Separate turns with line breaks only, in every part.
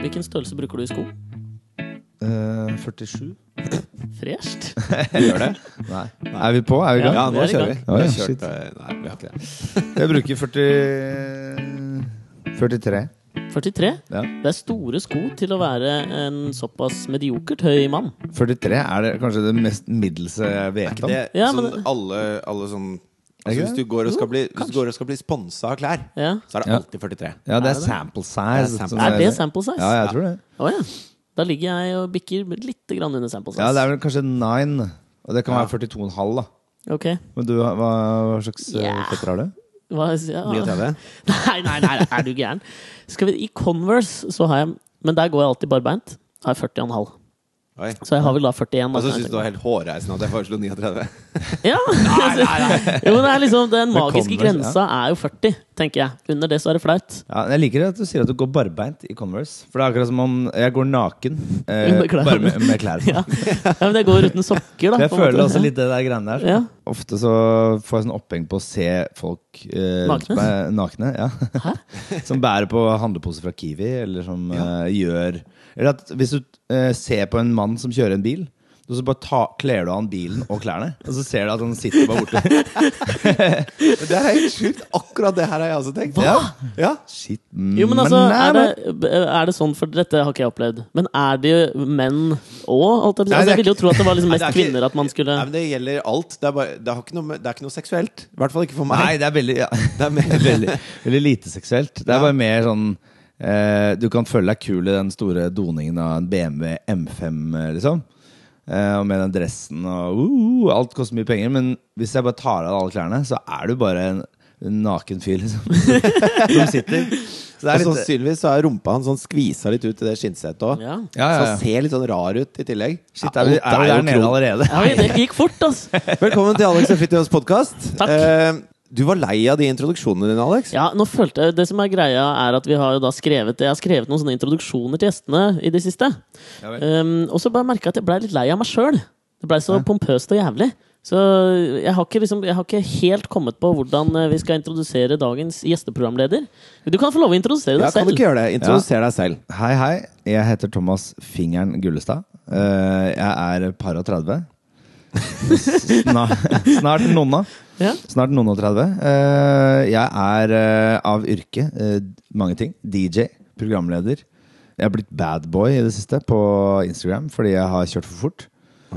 Hvilken størrelse bruker du i sko?
Eh, 47?
Fresht?
Gjør det?
Nei. Er vi på? Er vi i gang?
Ja,
vi
nå
er i
kjører vi.
gang.
Vi har
Ja, ja, shit.
kjørt, eh, nei, vi har ikke det.
Jeg bruker 40 43.
43?
Ja.
Det er store sko til å være en såpass mediokert høy mann.
43 er det kanskje det mest middels jeg vet om.
Det
Det,
er
Ja, men
sånn alle, alle sånn
Er det
altså,
ikke
Hvis du går og skal
Jo,
bli, hvis du går og skal bli sponsa av klær,
Ja.
så er det
Ja.
alltid 43.
ja, det
Er
er
det?
sample size.
Det er sample
som
size.
Er det sample size?
Sånn Ja, jeg tror det.
Å ja. Da ligger jeg og bikker litt grann under sample size.
Ja, det er vel kanskje 9. Og det kan
Ja.
være 42,5, da.
Ok.
Men du, hva, hva slags yeah.
Ja.
føtter har du?
Hva, ja.
39.
Nei, nei, nei, er du gæren? Skal vi, I Converse så har jeg Men der går jeg alltid barbeint. Har jeg 40,5.
Oi.
Så jeg har vel da 41. da, kan
Og så
jeg
syns du det var helt hårreisende at jeg foreslo 39.
tenke. ja. Jo, men det er liksom Den
Det
magiske
Converse,
grensa er jo 40, tenker jeg. Under det så er det flaut.
Ja, jeg liker at du sier at du går barbeint i Converse. For det er akkurat som om jeg går naken. Eh,
Under klærne.
bare med, med klær på.
Ja. ja, men det går uten sokker, da.
Jeg
på en
føler
måte.
altså
også litt det der greiene der.
Ja.
Ofte så får jeg sånn oppheng på å se folk eh, rundt
Nakne?
meg- nakne ja. som bærer på handleposer fra Kiwi, eller som eh, gjør Eller at hvis du eh, ser på en mann som kjører en bil, og så bare ta, kler du av han bilen og klærne, og så ser du at han sitter bare borte.
Men Det er helt sjukt. Akkurat det her har jeg også tenkt.
Ja.
Ja.
Shit.
Jo, men altså,
nei,
er det,
men-
er det sånn, for dette har ikke jeg opplevd, men er det menn òg? Altså,
Nei, det er
jeg ville jo
ikke-
tro at det var liksom
Nei,
mest
det er ikke-
kvinner at man skulle
Nei, men det gjelder alt. Det er, bare, det, har ikke noe, med- det er ikke noe seksuelt. I hvert fall ikke for meg.
Nei, det er veldig, ja.
Det er mer-
veldig, veldig lite seksuelt. Det er
Ja.
bare mer sånn eh, Du kan føle deg kul i den store doningen av en BMW M5, eh, liksom. Eh, og med den dressen og uh, Alt koster mye penger, men hvis jeg bare tar av alle klærne, så er du bare en naken fyr, liksom. Som sitter. Så det er
Og
litt
sannsynligvis så er rumpa hans sånn skvisa litt ut i det skinnsetet òg.
Ja.
Ja, ja, ja.
Så han ser litt sånn rar ut i tillegg.
Shit, er vi, er vi der nede allerede?
Oi, det gikk fort, altså!
Velkommen til Alex og Fritjofs podkast.
Takk.
du var lei av de introduksjonene dine, Alex.
Ja, nå følte jeg, Det som er greia, er at vi har jo da skrevet Jeg har skrevet noen sånne introduksjoner til gjestene i det siste.
Ja vel.
Um, og så bare merka jeg at jeg blei litt lei av meg sjøl. Det blei så pompøst og jævlig. Så jeg har, ikke liksom, jeg har ikke helt kommet på hvordan eh, vi skal introdusere dagens gjesteprogramleder. Du kan få lov å introdusere deg
Ja, kan
selv.
du ikke gjøre det? Introduser deg selv.
Hei, hei. Jeg heter Thomas Fingeren Gullestad. Eh, jeg er par og 30. Snart, snart nonna.
Ja.
Snart noen og 30. Eh, jeg er eh, av yrke eh, mange ting. DJ, programleder. Jeg har blitt badboy i det siste på Instagram fordi jeg har kjørt for fort.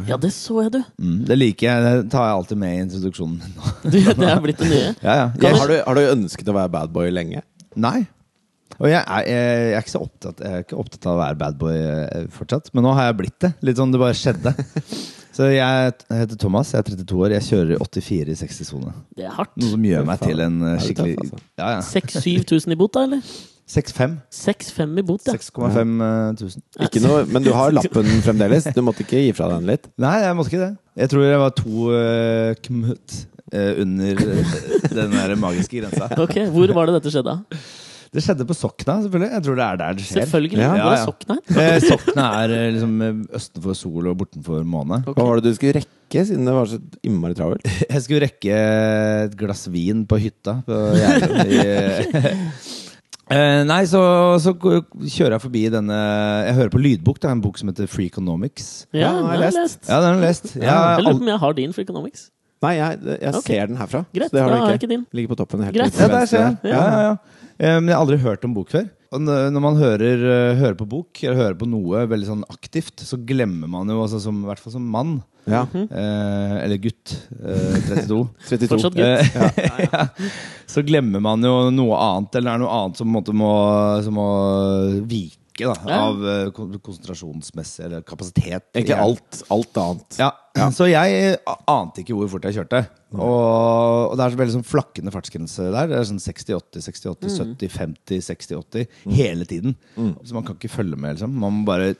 ja, det så jeg, du.
Mm, det liker jeg. Det tar jeg alltid med i introduksjonen min nå.
du det er blitt det nye.
Ja, ja.
Kan
Jeg,
Har, du, har du ønsket å være badboy lenge?
nei. Og jeg er, jeg, er ikke så opptatt, jeg er ikke opptatt av å være badboy eh, fortsatt, men nå har jeg blitt det. Litt sånn det bare skjedde. Så jeg heter Thomas, jeg er 32 år, jeg kjører i 84 i 60-sone.
Det er hardt.
Noe som gjør meg
faen.
til en eh,
Er du
skikkelig
tøff, altså?
Ja, ja.
6000-7000 i bot, da? eller?
6-5.
6-5 i bot, ja.
6,5 eh, tusen.
Ikke noe, men du har lappen fremdeles. Du måtte ikke gi fra deg den litt.
Nei, jeg måtte ikke det. Jeg tror jeg var to eh, kmøtt eh, under eh, den der magiske grensa.
Ok, Hvor var det dette skjedde? da?
Det skjedde på Sokna, selvfølgelig. Jeg tror det er der det skjer.
Selvfølgelig.
Ja,
var det
ja, ja.
Sokna?
Eh, Sokna er eh, liksom eh, østenfor sol og bortenfor måne.
Ok.
Hva var det du skulle rekke, siden det var så innmari travelt?
Jeg skulle rekke et glass vin på hytta på Gjerdrum. i- Eh, Nei, så, så kjører jeg forbi denne Jeg hører på lydbok. Det er en bok som heter Freakonomics.
Ja,
Ja,
den
jeg
har jeg
lest.
lest.
Ja, den har jeg lest. Jeg
Jeg
har
lurer
aldri-
på om jeg har din for Economics.
Nei, jeg, jeg
Ok.
ser den herfra.
Greit,
så det har
da
du
har
ikke.
jeg ikke din.
Ligger på toppen. Helt
Greit.
ut til
Ja, der ser
venstre.
jeg. Ja, ja, ja. Eh, Men jeg har aldri hørt om bok før. Og n- når man hører, eh, hører på bok, eller hører på noe veldig sånn aktivt, så glemmer man jo, altså som, i hvert fall som mann,
Ja.
eh, eller gutt, eh, 32
32.
Fortsatt gutt.
Eh, ja. Så glemmer man jo noe annet, eller det er noe annet som på en måte må, som må vike. Da,
Ja.
Av eh, kon- konsentrasjonsmessig eller kapasitet. i
Egentlig
hjernen.
alt, alt annet.
Ja. Så jeg eh, a- ante ikke hvor fort jeg kjørte. Og, og det er så veldig sånn flakkende fartsgrense der. Det er sånn 60-80, 60-80,
Mm.
70-50, 60-80 hele tiden. Så man kan ikke følge med, liksom. Man må bare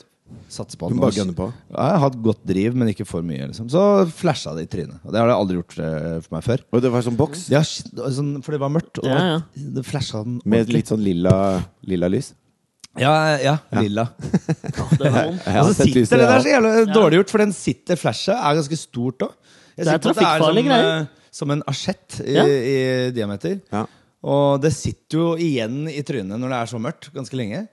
satse på at
Du må
man-
bare gunne på.
Ja, jeg har hatt godt driv, men ikke for mye. Liksom. Så flasha det i trynet. Og det har det aldri gjort eh, for meg før.
Og det var sånn boks
Ja, shit, det var sånn, for det var mørkt, og det
Ja,
var- det flasha den
med litt sånn lilla, lilla lys.
Ja, ja, lilla.
Å, det var vondt.
Jeg har
Og så
sett
sitter
lyset,
det der
ja.
så jævlig dårlig gjort, for den sitter flashet er ganske stort òg.
Det er trafikkfarlige greier.
sånn, eh, Som en asjett i,
Ja.
i diameter.
Ja.
Og det sitter jo igjen i trynet når det er så mørkt, ganske lenge.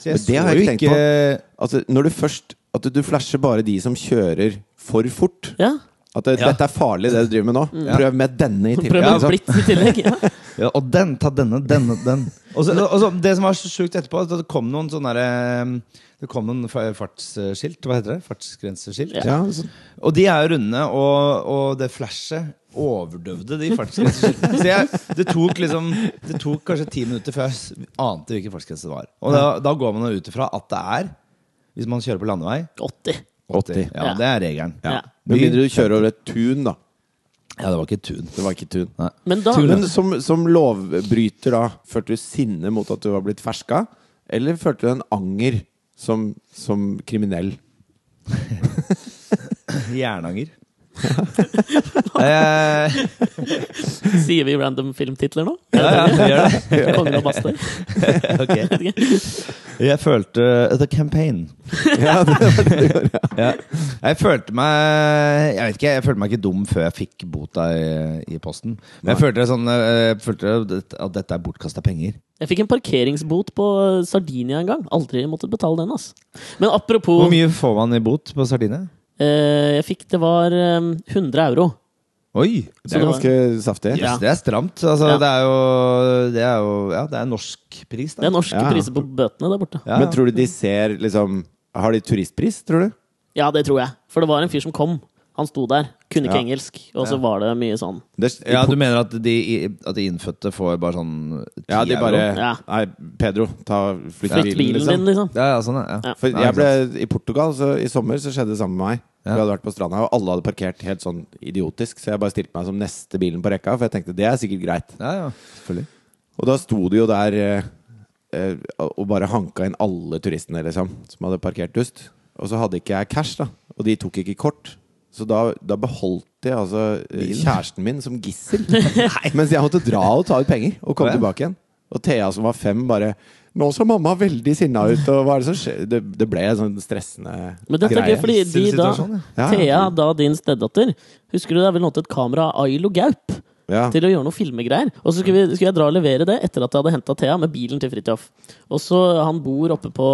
Så jeg
Men det
så
har jeg
jo
ikke tenkt Altså, når du først At du flasher bare de som kjører for fort.
Ja,
At det,
Ja.
dette er farlig, det du driver med nå. Prøv med denne i
Prøv
tillegg.
med
liksom.
blitz i tillegg. Ja.
Ja, og den, ta denne, denne, den. Og så, og så, det som var så sjukt etterpå, at det kom noen sånne der, eh, Det kom noen fa- fartsskilt, hva heter det? Fartsgrenseskilt.
Ja, så,
Og de er jo runde, og, og det flashet overdøvde de fartsgrenseskiltene. Så jeg, det, tok liksom, det tok kanskje ti minutter før jeg s- ante hvilken fartsgrense det var. Og da, da går man jo ut ifra at det er, hvis man kjører på landevei,
80.
80.
ja,
Ja.
det er regelen.
Ja.
Med mindre du kjører over et tun, da.
Ja, det var ikke tun.
Det var ikke tun.
Nei.
Men da
Men som, som lovbryter, da, følte du sinne mot at du var blitt ferska? Eller følte du en anger som, som kriminell?
Jernanger. eh,
sier vi random filmtitler nå.
ja, ja, gjør det.
Kongen av Bastøy.
Ok. Jeg følte eh, The Campaign.
Ja, det var det du gjorde. ja.
Ja. Jeg følte meg Jeg vet ikke, jeg følte meg ikke dum før jeg fikk bota i, i posten. Men jeg følte, det sånn, eh, jeg følte det- at dette er bortkasta penger.
Jeg fikk en parkeringsbot på Sardinia en gang. Aldri måttet betale den, ass. Men apropos
Hvor mye får man i bot på Sardinia?
eh, Jeg fikk Det var eh, 100 euro.
Oi!
Det er ganske saftig.
Ja.
Det er stramt. Altså,
Ja.
det, er jo, det er jo Ja, det er norsk pris,
Det
da.
er norske
Ja.
priser på bøtene der borte.
Ja.
Men tror du de ser liksom Har de turistpris, tror du?
Ja, det tror jeg. For det var en fyr som kom. Han sto der. Kunne ikke
Ja.
engelsk. Og så var det mye sånn
Det,
Ja, du mener at de, at de innfødte får bare sånn 10
ja, de bare
euro?
Ja.
Nei, Pedro, ta flytt
Flytt
bilen,
bilen din,
liksom.
liksom.
Ja, ja, sånn, ja.
Ja.
For
Nei,
jeg ble I Portugal så, i sommer så skjedde det samme med meg. Vi
Ja.
hadde vært på stranda, og alle hadde parkert helt sånn idiotisk. Så jeg bare stilte meg som neste bilen på rekka, for jeg tenkte det er sikkert greit.
ja, ja. Selvfølgelig.
Og da sto de jo der eh, eh, og bare hanka inn alle turistene liksom, som hadde parkert dust. Og så hadde ikke jeg cash, da. Og de tok ikke kort. Så da, da beholdt jeg altså eh, kjæresten min som gissel. Mens jeg måtte dra og ta ut penger og komme
Ja.
tilbake igjen. Og Thea som var fem, bare Nå så mamma veldig sinna ut, og hva er det som skjer? Det, det ble en sånn stressende
Men dette er
greie.
gøy, fordi de da
Situasjon,
ja. Ja,
Thea,
ja.
da din stedatter Husker du det er vel nådd et kamera av Ailo Gaup?
Ja.
til å gjøre noen filmegreier. Og så skulle, vi, skulle jeg dra og levere det etter at jeg hadde henta Thea med bilen til Fridtjof. Og så han bor oppe på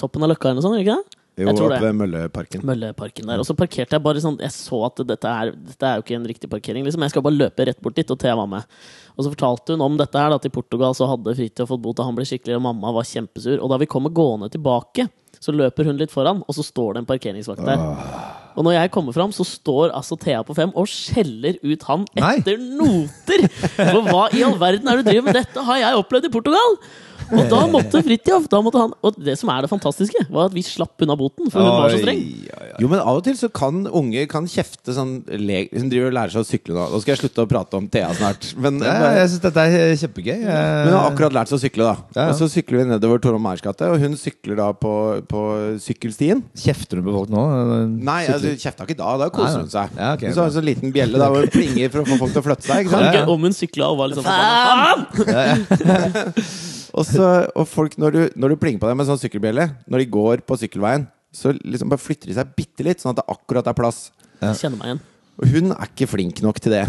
toppen av Løkka eller noe sånt, gjør ikke det?
Jo,
jeg tror
oppe
det.
ved Mølleparken.
Mølleparken der. Og så parkerte jeg bare sånn Jeg så at dette er, dette er jo ikke en riktig parkering, liksom. Jeg skal bare løpe rett bort dit, og Thea var med. Og så fortalte hun om dette her, da, at i Portugal så hadde Fridtjof fått bot, og han ble skikkelig, og mamma var kjempesur. Og da vi kommer gående tilbake, så løper hun litt foran, og så står det en parkeringsvakt der.
Ah.
Og når jeg kommer fram, så står altså Thea på fem og skjeller ut han
Nei.
etter noter! For hva i all verden er det du driver med? Dette har jeg opplevd i Portugal! Og da måtte Fridtjof da måtte han, Og det som er det fantastiske, var at vi slapp unna boten, for hun var så streng.
Oi, oi, oi.
Jo, men av og til så kan unge kan kjefte sånn le, Hun driver og lærer seg å sykle nå. Nå skal jeg slutte å prate om Thea snart. Men,
Ja,
men-
jeg syns dette er kjempegøy.
hun
Jeg-
har akkurat lært seg å sykle, da.
Ja, ja.
Og så sykler vi nedover Torvald Meyers gate, og hun sykler da på, på sykkelstien.
Kjefter du på folk nå?
Nei, altså, hun kjefta ikke da. Da
Nei, nei.
koser hun seg.
Ja, ok,
hun så har hun sånn liten bjelle da hvor hun plinger for å få folk til å flytte seg. Ikke sant?
Ja, ja.
Ikke om hun sykla og var liksom Faen!
Og, så, og folk, når du, når du plinger på dem med sånn sykkelbjelle, når de går på sykkelveien, så liksom bare flytter de seg bitte litt, sånn at det akkurat er plass.
Jeg kjenner meg igjen.
Og hun er ikke flink nok til det.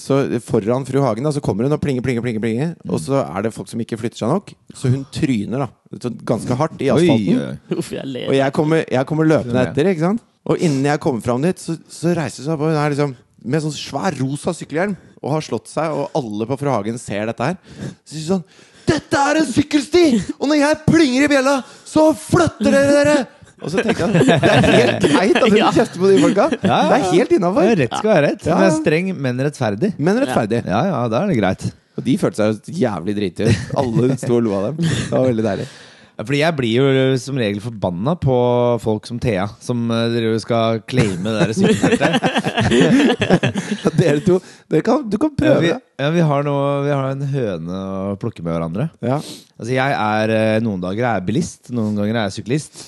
Så foran fru Hagen da, så kommer hun og plinger, plinger, plinger, plinger. Og så er det folk som ikke flytter seg nok, så hun tryner da sånn ganske hardt i
Oi,
asfalten.
oi.
Uff, jeg ler.
Og jeg kommer, jeg kommer løpende
Skjønner jeg.
etter, ikke sant? Og innen jeg kommer fram dit, så, så reiser hun seg opp. og Hun er liksom med sånn svær rosa sykkelhjelm og har slått seg, og alle på Fru Hagen ser dette her. Så sier hun sånn Dette er en sykkelsti! Og når jeg plinger i bjella, så flytter dere dere! Og så tenker jeg at det er helt greit at hun
Ja.
kjefter på de folka.
Ja,
Det
ja.
er helt
Ja,
innafor.
rett skal være rett.
Ja.
Hun er streng, men rettferdig.
Men rettferdig.
Ja, ja, da er det greit.
Og de følte seg jo jævlig drite ut. Alle sto og lo av dem. Det var veldig deilig.
Ja, Fordi jeg blir jo eh, som regel forbanna på folk som Thea, som eh, dere jo skal claime det der sykkelfeltet.
Dere to, dere kan, du kan
Ja,
prøve.
vi,
det.
ja, vi, har noe- vi har en høne å plukke med hverandre.
Ja.
Altså jeg er eh, Noen dager er jeg bilist, noen ganger er jeg syklist.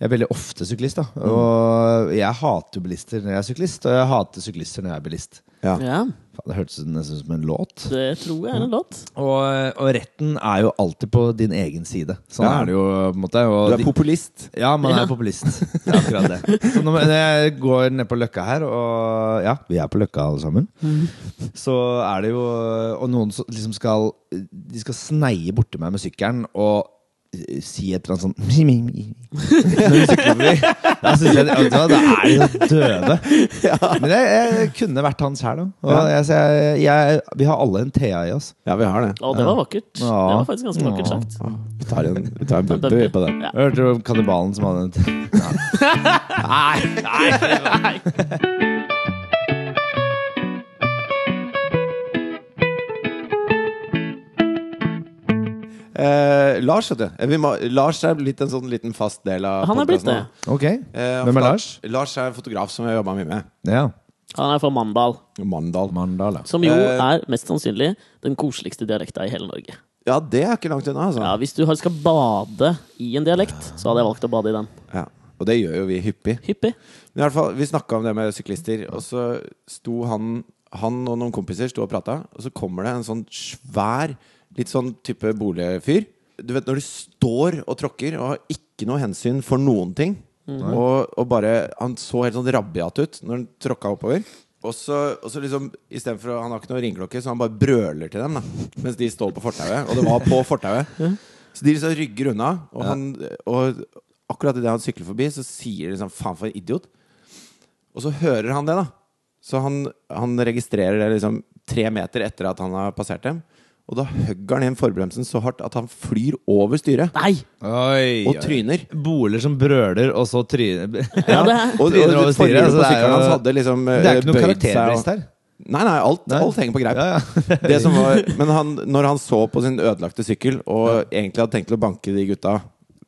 Jeg er veldig ofte syklist, da.
Mm.
Og jeg hater jo bilister når jeg er syklist, og jeg hater syklister når jeg er bilist.
Ja.
Ja,
Faen, det hørtes nesten ut som en låt.
det tror jeg er en låt.
Og, og retten er jo alltid på din egen side. Sånn
Ja.
er det jo, på en måte. Og
Du er
de-
populist.
Ja, man er
Ja.
populist. Det er akkurat det. Så når når jeg går ned på Løkka her, og ja, vi er på Løkka alle sammen, så er det jo Og noen som liksom skal De skal sneie borti meg med sykkelen, og eh, si et eller annet sånn Når du sykler forbi. Da synes jeg vet du hva, Da er de så døve. Men jeg, jeg kunne vært han sjæl òg.
Ja.
Vi har alle en Thea i oss.
Ja, vi har det.
Å, det var vakkert. Det
Ja.
var faktisk ganske vakkert
Ja.
sagt.
Vi tar en, vi tar en bumper vi, på den.
Ja.
Hørte du om kannibalen som hadde en Thea?
Eh, Lars, vet du. Eh, Vi må, Lars er blitt en sånn liten fast del av
Han er blitt
podcasten
det.
nå.
Ok.
Eh,
Hvem er
for da-
Lars?
Lars er en fotograf som jeg har jobba mye med.
Ja.
Han er fra Mandal,
Mandal.
Mandala.
som jo
Eh.
er mest sannsynlig den koseligste dialekta i hele Norge.
Ja, det er ikke langt unna, altså.
Ja, Hvis du har- skal bade i en dialekt, så hadde jeg valgt å bade i den.
Ja. Og det gjør jo vi hyppig.
Hyppig.
Men i alle fall, Vi snakka om det med syklister, og så sto han Han og noen kompiser sto og prata, og så kommer det en sånn svær, litt sånn type boligfyr. Du vet når du står og tråkker og har ikke noe hensyn for noen ting. Og, og bare Han så helt sånn rabiat ut når han tråkka oppover. Og så, og så liksom istedenfor å- Han har ikke noe ringeklokke, så han bare brøler til dem. da Mens de står på fortauet. Og det var på fortauet. Så de liksom rygger unna. Og, han, og akkurat idet han sykler forbi, så sier de liksom 'faen for en idiot'. Og så hører han det, da. Så han, han registrerer det liksom tre meter etter at han har passert dem. Og da hugger han inn forbremsen så hardt at han flyr over styret
Nei!
Oi,
og
oi.
tryner.
Boler som brøler, og så tryner
Ja, det
Og,
er
og
Tryner over styret,
forhjulet
altså, det
på
er
sykkelen
jo-
hans hadde liksom
Det er jo ikke noe
bøyd seg og-
karakterbrist her.
Nei, nei, alt,
Nei.
alt henger på greip.
Ja, ja.
Det som var, men han, når han så på sin ødelagte sykkel og egentlig hadde tenkt til å banke de gutta,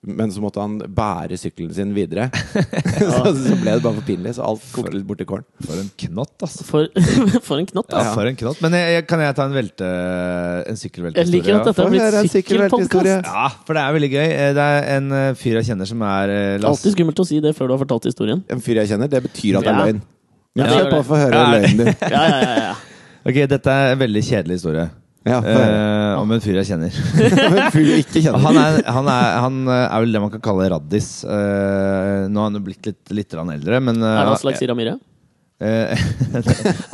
men så måtte han bære sykkelen sin videre, så, så ble det bare for pinlig. Så alt kokte litt borti kålen.
For en knott, altså.
For, for en knott,
Ja,
altså.
for en knott. Men jeg, jeg, kan jeg ta en velte... En sykkelveltehistorie?
Jeg liker at
ja?
dette
Få
har
høre en
blitt
sykkelvelthistorie.
sykkelpodkast.
Ja, for det er veldig gøy. Eh, Det er en eh, fyr jeg kjenner som er eh, Las-
Alltid skummelt å si det før du har fortalt historien.
En fyr jeg kjenner, det betyr at det
Ja.
er løgn.
Ja,
Men se
det
på
gjør det.
for å høre
Ja.
løgnen din.
Ja, ja, ja, ja.
Ok, dette er en veldig kjedelig historie.
Ja, få høre.
Eh, om en fyr jeg kjenner.
Eh.
Om en fyr du ikke kjenner.
Han er, han, er, han eh, er vel det man kan kalle raddis. Eh, nå har han jo blitt litt, litt grann eldre, men eh,
Er det Aslak Sira Myhre?
eh,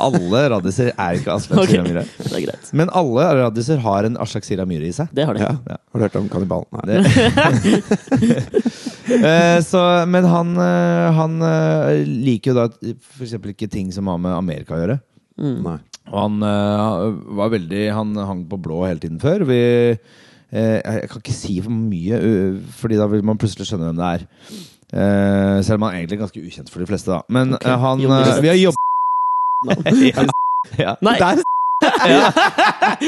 Alle raddiser er ikke Aslak
Ok.
Sira Myhre.
Det er greit.
Men alle raddiser har en Aslak Sira Myhre i seg.
Det har de.
Ja. Har du hørt om kannibalen? Nei.
Eh, så, men han, eh, han eh, liker jo da f.eks. ikke ting som har med Amerika å gjøre.
Mm.
Nei.
Og han eh, var veldig Han hang på blå hele tiden før. Vi, eh, jeg kan ikke si for mye, ø, Fordi da vil man plutselig skjønne hvem det er. Eh, selv om han egentlig er ganske ukjent for de fleste, da. Men eh, han
Jo, det er
eh, Vi har
Navn.
jobbet ja.
Nei,
Der!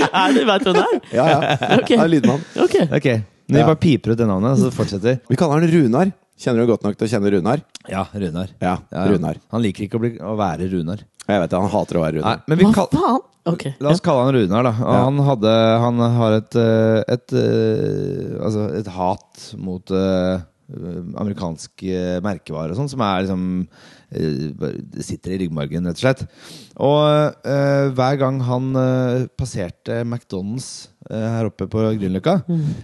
er det, vet du hvem det er?
Ja, ja.
Ok.
Han er lydmann.
Ok.
Ok, men vi
Ja.
bare piper ut det navnet, så fortsetter
Vi kaller han Runar. Kjenner du godt nok til å kjenne Runar?
Ja, Runar. Ja,
Ja,
ja.
Runar.
Han liker ikke å, bli, å være Runar.
Jeg vet det, han hater å
Nei,
være Runar.
men vi
Hva
kall,
faen? Ok.
La oss kalle han Runar, da. Og
Ja.
Han, hadde, han har et, eh, et, eh, altså et hat mot eh, amerikansk eh, merkevare og sånn, som er liksom eh, bare- det sitter i ryggmargen, rett og slett. Og eh, hver gang han eh, passerte McDonald's eh, her oppe på Grünerløkka,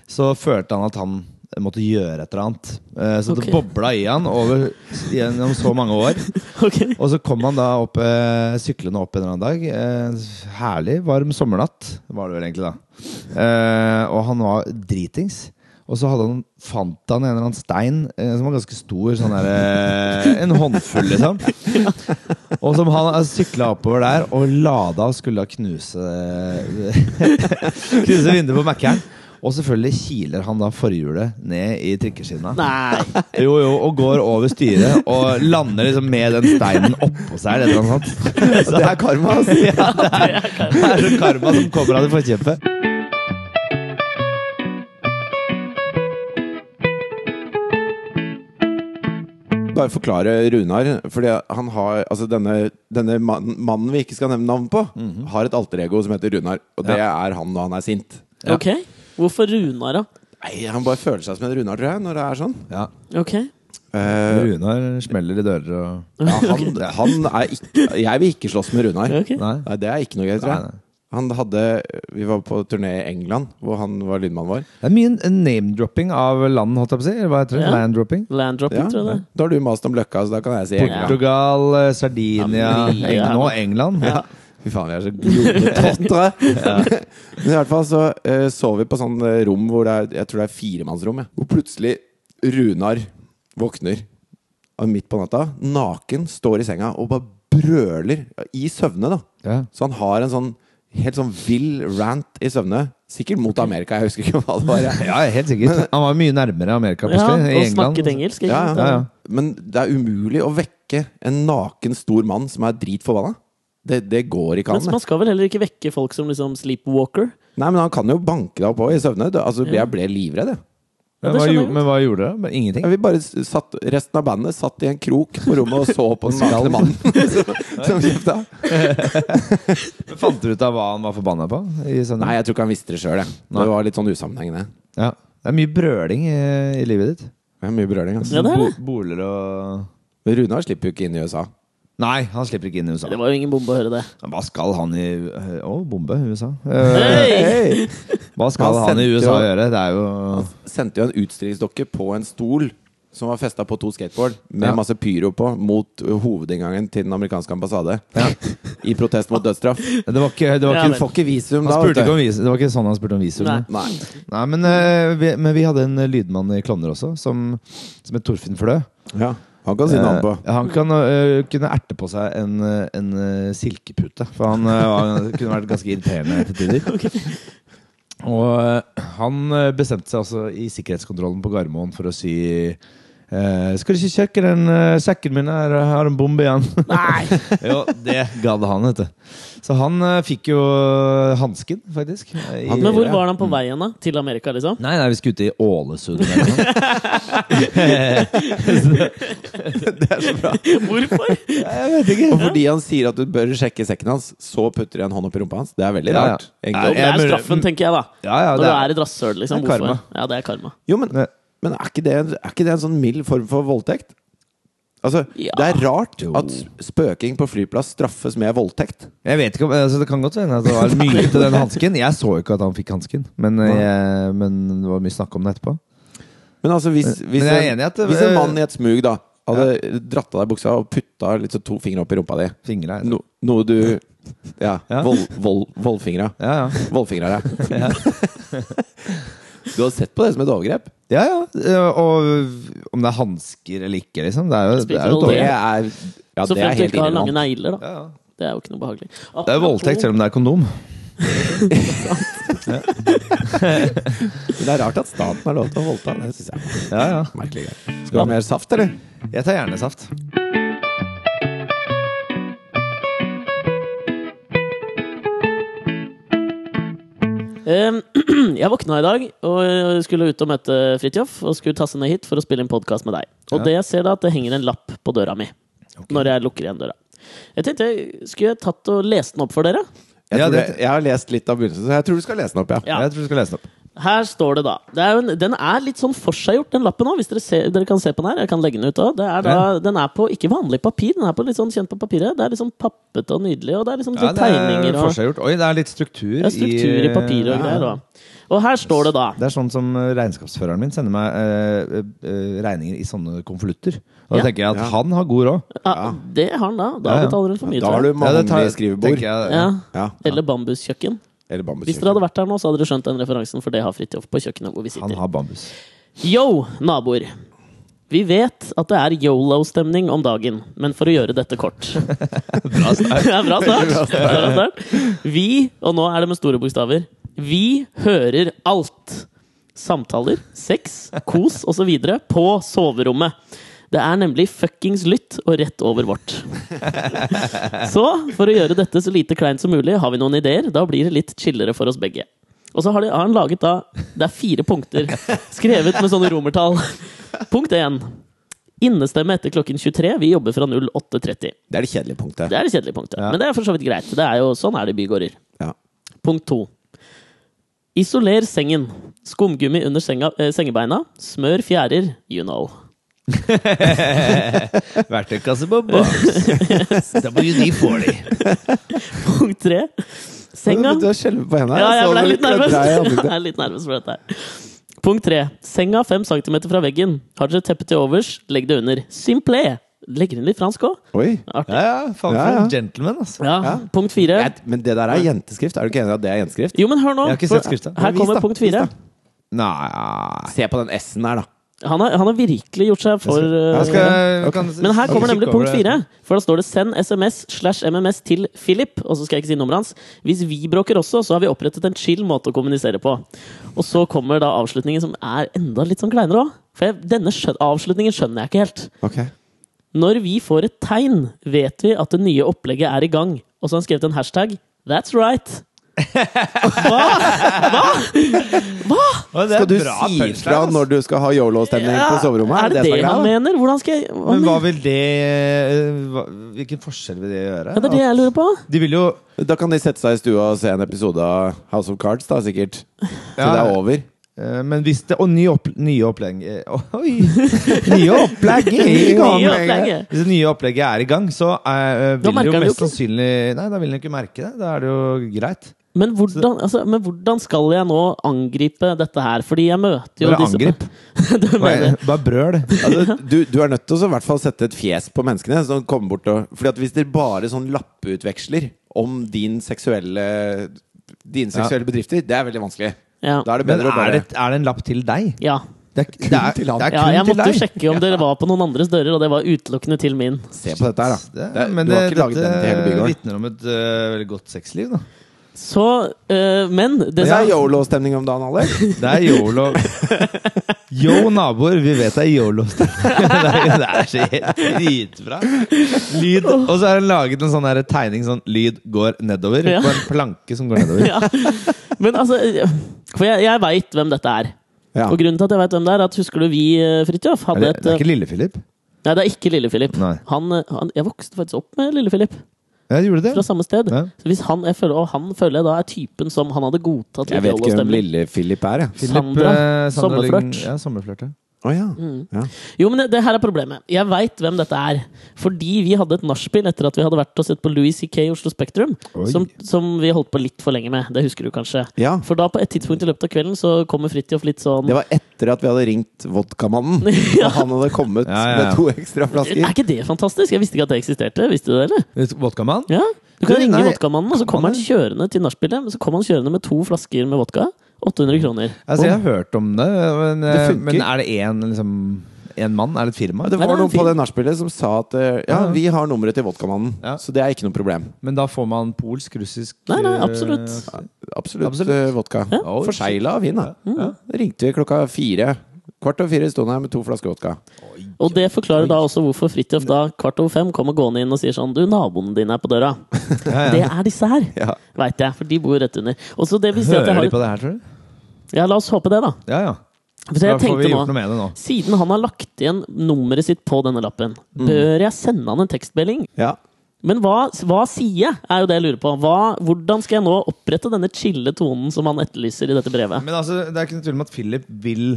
så følte han at han måtte gjøre et eller annet. Eh, så
Ok.
det bobla i han over, gjennom så mange år.
Ok.
Og så kom han da opp, eh, syklende opp en eller annen dag. Eh, herlig, varm sommernatt var det vel egentlig, da. Eh, og han var dritings. Og så hadde han, fant han en eller annen stein eh, som var ganske stor. Sånn der, eh, en håndfull, liksom. Og som han sykla oppover der og lada og skulle da knuse Knuse vinduet på Mækkern. Og selvfølgelig kiler han da forhjulet ned i trikkeskinna.
Nei.
Jo, jo, og går over styret og lander liksom med den steinen oppå seg. Eller noe sånt.
Det er karma, ass.
Ja, det er, det er sånn karma som kommer av det forkjempet.
Bare forklare Runar. Fordi han har, altså denne, denne mannen, mannen vi ikke skal nevne navn på,
Mhm.
har et alter ego som heter Runar. Og det er han når han er sint.
Ok. Hvorfor Runar, da?
Nei, Han bare føler seg som en Runar, tror jeg, når det er sånn.
Ja,
Ok.
Eh,
Runar smeller i dører og
ja, han, han er ikke Jeg vil ikke slåss med Runar.
Ok.
Nei.
Nei, Det er ikke noe gøy, tror
Nei,
jeg.
nei.
Han hadde, Vi var på turné i England, hvor han var lydmannen vår.
Det er mye name-dropping av land, holdt jeg på å si. eller Hva heter det?
Ja.
Land-dropping.
Landdropping,
Ja,
tror jeg det.
Da har du mast om Løkka, så da kan jeg si England.
Portugal, eh, Sardinia
Ja, men-
Eng Nå England.
Ja. Fy faen, vi er så glodetottere! Men i hvert fall så eh, så vi på sånn eh, rom hvor det er, jeg tror det er firemannsrom, jeg, hvor plutselig Runar våkner og midt på natta, naken, står i senga og bare brøler i søvne, da.
Ja.
Så han har en sånn helt sånn vill rant i søvne. Sikkert mot Amerika, jeg husker ikke hva det var. jeg.
ja, helt sikkert. Han var mye nærmere Amerika
Ja,
plutselig. i
og
England.
snakket engelsk. Ikke?
Ja,
sant?
ja,
Ja,
ja.
ja.
Men det er umulig å vekke en naken, stor mann som er dritforbanna. Det, det går ikke an.
Men
det.
man skal vel heller ikke vekke folk som liksom sleepwalker.
Nei, men han kan jo banke deg opp også i søvne. Du, Altså, Jeg ble livredd, jeg.
Ja, det
Men,
skjønner
hva,
jeg godt.
gjorde- men hva gjorde dere? Bare Ingenting?
Ja, Vi bare s- satt, resten av bandet satt i en krok på rommet og så på den nakne mannen. som, som kjefta.
Men Fant dere ut av hva han var forbanna på? I sånne-
Nei, jeg tror ikke han visste det sjøl. Det var litt sånn usammenhengende.
Ja. Det er mye brøling i, i livet ditt.
Det er mye brøling. Altså.
Ja, det er det.
Bo- Boler og
Men Runar slipper jo ikke inn i USA.
Nei, han slipper ikke inn i USA.
Det var jo ingen bombe å høre det.
Hva skal han i Å, bombe USA. Eh,
Hey!
Hva skal
Han
han, i
sendte
USA
jo-
gjøre? Det er jo
Sendte jo en utstillingsdokke på en stol som var festa på to skateboard med
Ja.
masse pyro på, mot hovedinngangen til den amerikanske ambassade. I protest mot dødsstraff.
Det var ikke, det var
Ja, men-
ikke
Du får ikke visum
han
da.
spurte
vet
ikke
du.
om visum. Det var ikke sånn han spurte om visum.
Nei.
Nei.
Nei, men, eh, vi, men vi hadde en eh, lydmann i Klovner også, som, som het Torfinn Flø.
Ja. Han kan si navn på.
Eh, ja, han kan, eh, kunne erte på seg en, eh, en eh, silkepute, for han eh, var, kunne vært ganske irriterende til tider. Og eh, han eh, bestemte seg altså i sikkerhetskontrollen på Gardermoen for å si eh, Skal du ikke sjekke den eh, sekken min? Her Jeg har en bombe igjen.
Nei!
jo, det gadd han, vet du. Så han eh, fikk jo hansken, faktisk. eh, i-
Han-
Men hvor
Ja.
var han på veien da? Til Amerika, liksom?
Nei, nei, vi skulle ut i Ålesund. Eller noe. sånt.
Hvorfor?
Jeg vet ikke.
Og fordi han sier at du bør sjekke sekken hans, så putter de en hånd opp i rumpa hans. Det er veldig
Ja, ja.
rart.
Nei,
Jo,
egentlig.
det er
jeg-
straffen, tenker jeg, da.
Ja, ja,
Når du
det er,
er et rasshøl, liksom.
Det er
Hvorfor?
karma.
Ja, det er karma.
Jo, men,
Nei.
men er, ikke det, er ikke det en sånn mild form for voldtekt? Altså,
Ja.
Det er rart
Jo.
at spøking på flyplass straffes med voldtekt.
jeg vet ikke om, altså, Det kan godt hende at det var mye til den hansken. Jeg så ikke at han fikk hansken, men, eh, jeg- men det var mye snakk om det etterpå.
Men altså, hvis, hvis,
men jeg er
en,
enig i at det-
hvis en mann i et smug da hadde dratt av deg buksa og putta litt så to fingre opp i rumpa di
Fingra.
no, Noe du Ja.
Ja.
Vold, vold, voldfingra.
Ja, ja.
Voldfingra, ja. Du har sett på det som et overgrep?
ja, ja. eh, Og om det er hansker eller ikke, liksom. Det er jo, det
Spiller
er jo
ingen
dårlig.
Det
rolle.
er, ja,
Så
det er
fremt du
helt
ikke har lange
irrelevant.
negler, da.
Ja, ja.
Det er jo ikke noe behagelig.
Det er jo voldtekt selv om det er kondom.
Men Det er rart at staten har lov til å voldta. Det synes jeg
Ja, ja.
er merkelig. greier. Skal du ha mer saft, eller?
Jeg tar gjerne saft.
Ehm, Jeg våkna i dag og skulle ut og møte Fridtjof og skulle tasse ned hit for å spille en podkast med deg. Og
Ja.
det jeg ser da, at det henger en lapp på døra mi når jeg lukker igjen døra. Jeg tenkte, skulle jeg tatt og lest den opp for dere?
Jeg,
Ja,
tror
det-
det, jeg har lest litt av begynnelsen, så jeg tror du skal lese den opp, ja.
Ja.
Jeg tror du skal lese den opp.
Her står det, da. Det er jo en, den er litt sånn forseggjort, den lappen òg, hvis dere, ser, dere kan se på den her. Jeg kan legge den ut òg. Den er på ikke vanlig papir, den er på litt sånn kjent på papiret. Det er litt sånn pappete og nydelig, og det er liksom
Ja,
sånn tegninger
det er
og
forseggjort. Oi, det er litt struktur, eh,
ja, struktur i papiret og greier. da. Og her står det, da.
Det er sånn som eh, regnskapsføreren min sender meg eh, eh, regninger i sånne konvolutter. Og da
Ja.
tenker jeg at
Ja.
han har god råd.
Ja, det har den da. Da
Ja, ja.
betaler hun for mye,
Da har
tror jeg.
du mannlig
det tar-
skrivebord.
tenker jeg-
Ja.
Ja.
Eller bambuskjøkken.
Eller
Hvis dere
bambuskjøkken.
hadde vært her nå, så hadde dere skjønt den referansen, for det har Fridtjof på kjøkkenet hvor vi
Han
sitter.
har bambus.
Yo, naboer! Vi vet at det er yolo-stemning om dagen, men for å gjøre dette kort
Bra start.
Det er bra start. Det er bra start. Vi, og nå er det med store bokstaver, vi hører alt. Samtaler, sex, kos osv. på soverommet. Det er nemlig fuckings lytt og rett over vårt. Så for å gjøre dette så lite kleint som mulig, har vi noen ideer. Da blir det litt chillere for oss begge. Og så har, de, har han laget da Det er fire punkter skrevet med sånne romertall. Punkt én. Innestemme etter klokken 23. Vi jobber fra 08.30.
Det er det kjedelige punktet.
Det er det kjedelige punktet.
Ja.
Men det er for så vidt greit. Det er jo, sånn er det i bygårder.
Ja.
Punkt to. Isoler sengen. Skumgummi under senga, eh, sengebeina. Smør fjærer. You know.
Verktøykasse på boks. WD-40.
Punkt tre. Senga
Du har skjelvet på henda.
Ja, jeg ble litt nervøs. Jeg
nervøs.
er litt nervøs for dette her. Punkt tre. Senga fem centimeter fra veggen. Har dere teppet til overs, legg det under. Simple! Legger inn litt fransk òg.
Oi.
Artig.
Ja, ja, faen for
Ja, ja.
en gentleman, altså.
Ja,
Ja.
Punkt fire.
Jeg, men det der er jenteskrift. Er du ikke enig i at det er jenteskrift?
Jo, men hør nå.
Jeg har ikke
for-
sett skrifta.
Her
Men vis
kommer
da,
punkt
vis
fire.
Nei
Se på den S-en der, da.
Han har, han har virkelig gjort seg for
Jeg
eh,
skal, kan,
Men her kommer
kikke
nemlig
over
punkt
det.
fire. For da står det 'send SMS slash MMS til Philip'. Og så skal jeg ikke si nummeret hans. Hvis vi bråker også, så har vi opprettet en chill måte å kommunisere på. Og så kommer da avslutningen som er enda litt sånn kleinere òg. For jeg, denne skjøn avslutningen skjønner jeg ikke helt.
Ok
Når vi får et tegn, vet vi at det nye opplegget er i gang. Og så har han skrevet en hashtag. That's right.
Å, det er
Skal du
bra
si
punchline,
ifra
ass.
når du skal ha yolo-stemning på soverommet?
er det det,
snakket
han
om?
mener? Hvordan skal jeg hva
Men hva
mener-
vil det eh, hva, Hvilken forskjell vil det gjøre?
ja, Det er det jeg lurer på.
De vil jo
Da kan de sette seg i stua og se en episode av House of Cards, da, sikkert. Til
Ja.
det er over.
eh, Men hvis det Og nye, opp, nye opplegg eh, Oi! Nye opplegg er i gang!
Nye opplegget.
Hvis det nye opplegget er i gang, så
Da
eh, vil det
merker
jo
han det
mest
jo ikke.
sannsynlig Nei, da vil den ikke merke det. Da er det jo greit.
Men hvordan, altså, men hvordan skal jeg nå angripe dette her? Fordi jeg møter jo
Bare
disse
angrip.
du
Bare,
mener,
bare brøl.
Altså, du, du er nødt til å i hvert fall sette et fjes på menneskene. Som kommer bort og, fordi at hvis dere bare sånn lappeutveksler om din seksuelle dine seksuelle bedrifter, det er veldig vanskelig.
ja.
Da er det
Men
bedre å
er
bare
det, er det en lapp til deg?
ja.
Det er, det er, det
til han.
er
ja,
kun
jeg
til
måtte jo
deg.
sjekke om dere var på noen andres dører, og det var utelukkende til min.
Se på dette her, da.
Det,
Det er-
men
du
det,
har ikke laget
dette
den til hele bygården.
vitner om et eh, veldig godt sexliv, da.
Så, øh, men det,
Det er yolo-stemning om dagen, Alex.
Det er yolo. Yo, naboer, vi vet det er yolo. Det er det er så helt dritbra. Lyd Og så er det laget en sånn der tegning sånn lyd går nedover.
Ja.
På en planke som går nedover.
ja. Men altså øh, For jeg, jeg veit hvem dette er.
Ja.
Og grunnen til at jeg vet hvem det er, er at husker du vi, øh, Fridtjof,
Er
hadde
det,
et
det er
øh,
ikke Lille-Philip?
Nei, det er ikke Lille-Philip.
Nei.
Han, øh, han, jeg vokste faktisk opp med Lille-Philip,
Ja, gjorde
fra
det?
samme sted.
Ja.
Så hvis han, jeg føler, Og han føler jeg da er typen som han hadde godtatt
Jeg
litt
vet ikke hvem
yolo-stemning.
Lille-Philip er, jeg.
Philip,
Sandra.
eh, Sandra Lyng-
Sommerflørt.
Ja, sommerflørt. ja.
Å ja.
Mm.
ja.
Jo, men det, det her er problemet. Jeg veit hvem dette er. Fordi vi hadde et nachspiel etter at vi hadde vært og sett på Louis C.K. i Oslo Spektrum.
Oi.
Som, som vi holdt på litt for lenge med. Det husker du kanskje.
Ja.
For da, på et tidspunkt i løpet av kvelden, så kommer Fridtjof litt sånn
Det var etter at vi hadde ringt Vodkamannen, og han hadde kommet
Ja, ja, ja.
med to ekstra
Er
flasker.
ikke det fantastisk? Jeg visste ikke at det eksisterte. Visste du det, eller?
Vet du, Vodkamann?
Ja. Du kan
Nei,
ringe
nei.
vodkamannen, og så kommer han kjørende til nachspielet. men Så kommer han kjørende med to flasker med vodka. 800 kroner.
Altså, jeg har hørt om det, men, eh,
Det funker.
men er det én liksom, en mann? Er det et firma?
Det
Nei,
var
det er
noen på
fint.
det nachspielet som sa at eh, ja,
Ja.
vi har nummeret til Vodkamannen,
Ja.
så det er ikke noe problem.
Men da får man polsk, russisk
Nei, nei,
eh,
absolutt.
Absolutt,
Absolutt.
eh, vodka.
Ja.
Oi, shit.
Forsegla og fin, da. Ja. Ringte vi klokka fire. Kvart over fire sto han her med to flasker vodka.
Og det forklarer da også hvorfor Fridtjof da kvart over fem kommer gående inn og sier sånn Du, naboene dine er på døra. Det er disse her,
Ja.
veit jeg, for de bor rett under. Og så det vil si at jeg
Hører
har
de på det her, tror du?
Ja, la oss håpe det, da.
Ja, ja.
For jeg
da får vi
tenkte
gjort noe
nå
med det nå.
Siden han har lagt igjen nummeret sitt på denne lappen, bør jeg sende han en tekstmelding?
Mm. Ja.
Men hva, hva sier jeg, er jo det jeg lurer på. Hva, hvordan skal jeg nå opprette denne chille tonen som han etterlyser i dette brevet?
Men altså, det er ikke noe tvil om at Philip vil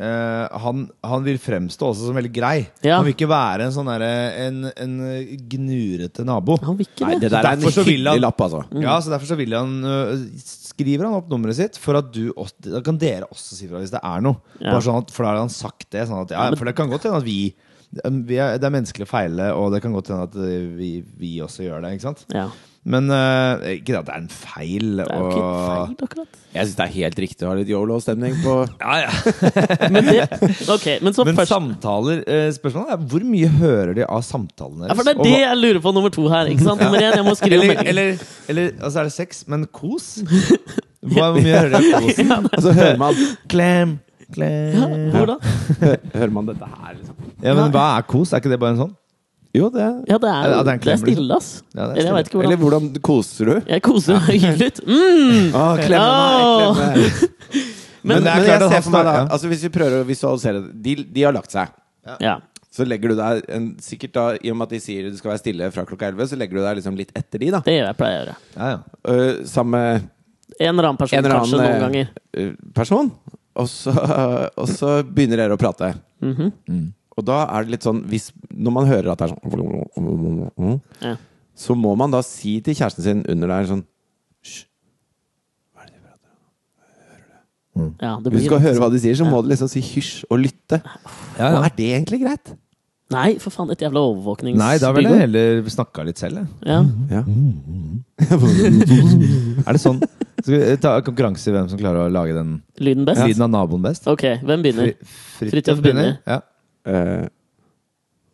eh, han, han vil fremstå også som veldig grei.
Ja.
Han vil ikke være en sånn derre en, en eh, gnurete nabo.
Han vil ikke
Nei,
det.
det der er en
Derfor så vil
hyggelig
han-
lapp, altså.
Mm.
Ja, så Derfor så vil han øh, skriver han opp nummeret sitt, for at du også, da kan dere også si fra hvis det er noe.
Ja.
Bare sånn at, for da har han sagt det. Sånn at, ja, for det kan godt hende at vi, vi er, Det er menneskelig å feile, og det kan godt hende at øh, vi, vi også gjør det. Ikke sant?
Ja.
Men øh, ikke at det er en feil.
Det er jo ikke feil, akkurat.
Jeg syns det er helt riktig å ha litt yolo-stemning på
Ja, ja.
Men, det, ok, men så
Men
først
samtaler eh, Spørsmålet er hvor mye hører de av samtalene
ja, For det er det jeg lurer på, nummer to her. ikke sant? Nummer én, jeg må
Og hva-
skrive
eller,
melding.
eller, eller altså er det sex, men kos? Hva, hvor mye hører de av kosen? Altså,
Og så hører man,
Klem, klem
Hvordan?
hører man dette her, liksom.
Ja, men hva er kos? Er ikke det bare en sånn?
Jo, det
Ja, det er,
Ja,
jo-
det er en
det er
klem, liksom.
stille, ass.
Ja, det er
Eller jeg
stille.
veit ikke
Eller
hvordan.
hvordan koser du? Ah,
Jeg koser meg hyggelig. Mm.
Å, klemme
Åh.
meg, klemme meg. Men,
Men det er klart
men jeg
at han
ser for meg da,
snakker- ja.
altså hvis vi prøver å visualisere det de, de har lagt seg.
Ja.
Så legger du deg en, sikkert da, I og med at de sier du skal være stille fra klokka 11, så legger du deg liksom litt etter de, da.
Det gjør jeg pleier å gjøre.
Ja, ja.
Øh, sammen med
En eller annen person,
en eller annen
kanskje, noen
eh,
ganger.
eh, person. Og så, og så begynner dere å prate. Mm. Og da er det litt sånn hvis, Når man hører at det er sånn
Ja.
Så må man da si til kjæresten sin under der sånn «Hysj, hva er det de prater om?»
Ja, det blir
Hvis du skal
litt
høre hva de sier, så
Ja.
må du liksom si hysj og lytte.
Ja, ja.
Og er det egentlig greit?
Nei, for faen, et jævla overvåkningsbyrå.
Nei, da ville jeg heller snakka litt selv. jeg.
Ja.
Ja.
Er det sånn? Skal vi ta konkurranse i hvem som klarer å lage den
Lyden best?
lyden av naboen best?
Ok, hvem begynner?
Fri-
Fridtjof begynner.
Ja.
Eh,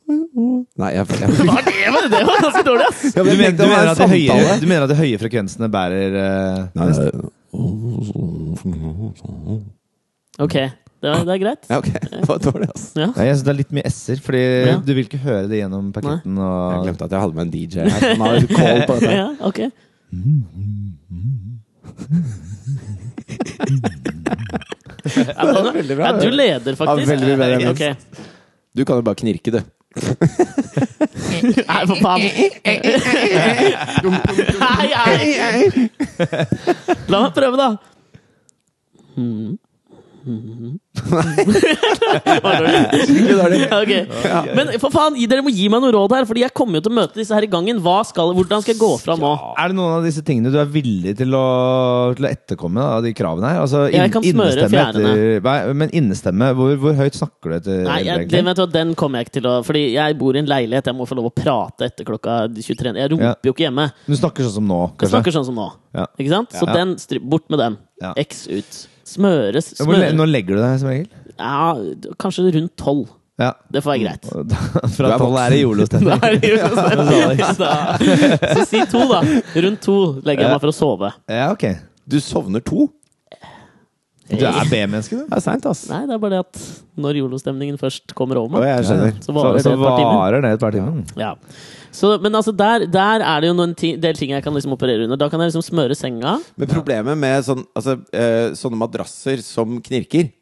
Nei, jeg, jeg,
Hva er det med det? Det var ganske dårlig, ass!
Du,
jeg
mener,
tenkte
du,
det var
mener at de
en
høye,
samtale.
du mener at de høye frekvensene bærer eh,
Nei,
mest?
nei.
Ok, det er, det er greit.
Ja, ok. Det var dårlig, ass.
Ja.
Nei, jeg synes det er litt mye s-er, fordi
Ja.
du vil ikke høre det gjennom paketten.
Jeg
Og...
glemte at jeg hadde med en DJ her. Han har call på dette.
ja, ok. Ja, men-
veldig bra.
ja, du leder, faktisk.
Ja, veldig bra,
Ok.
Du kan jo bare knirke, du.
Nei, for faen. Nei, nei. La meg prøve, da. Mm. Mm. Var det dårlig? Ok. Men for faen, dere må gi meg noe råd her, Fordi jeg kommer jo til å møte disse her i gangen. Hva skal, hvordan skal jeg gå fra nå?
Er det noen av disse tingene du er villig til å, til å etterkomme da, av de kravene her? Altså,
Jeg kan smøre
innestemme
fjærene.
etter- Nei, men innestemme, hvor, hvor høyt snakker du etter?
Nei, jeg, det, vet du, hva, den kommer jeg ikke til å Fordi jeg bor i en leilighet, jeg må få lov å prate etter klokka 23. Jeg roper
Ja.
jo ikke hjemme.
Du snakker sånn som nå,
Jeg
kanskje?
snakker sånn som nå.
Ja.
Ikke sant? Så
Ja.
den, stry- bort med den.
Ja.
X ut. Smøres,
Ja, Hvor, le-
smøres
nå legger du deg som regel?
ja, Kanskje rundt tolv.
Ja.
Det får
Mm.
være greit.
Og da-
Du
Fra
er
tolv
voksen.
er det julestemning.
Da er det jo sånn. Ja, da. Så si to, da. Rundt to legger jeg meg for å sove.
Ja, ok.
Du sovner to?
Du er B-menneske, du.
Det er seint, ass.
Nei, det er bare det at når julestemningen først kommer over
Å,
meg,
jeg skjønner.
så
Så,
varer det
så
et par timer.
varer det et par timer.
Ja. Så, men altså der, der er det jo noen ti, del ting jeg kan liksom operere under. Da kan jeg liksom smøre senga.
Men problemet med sånn, altså, eh, sånne madrasser som knirker,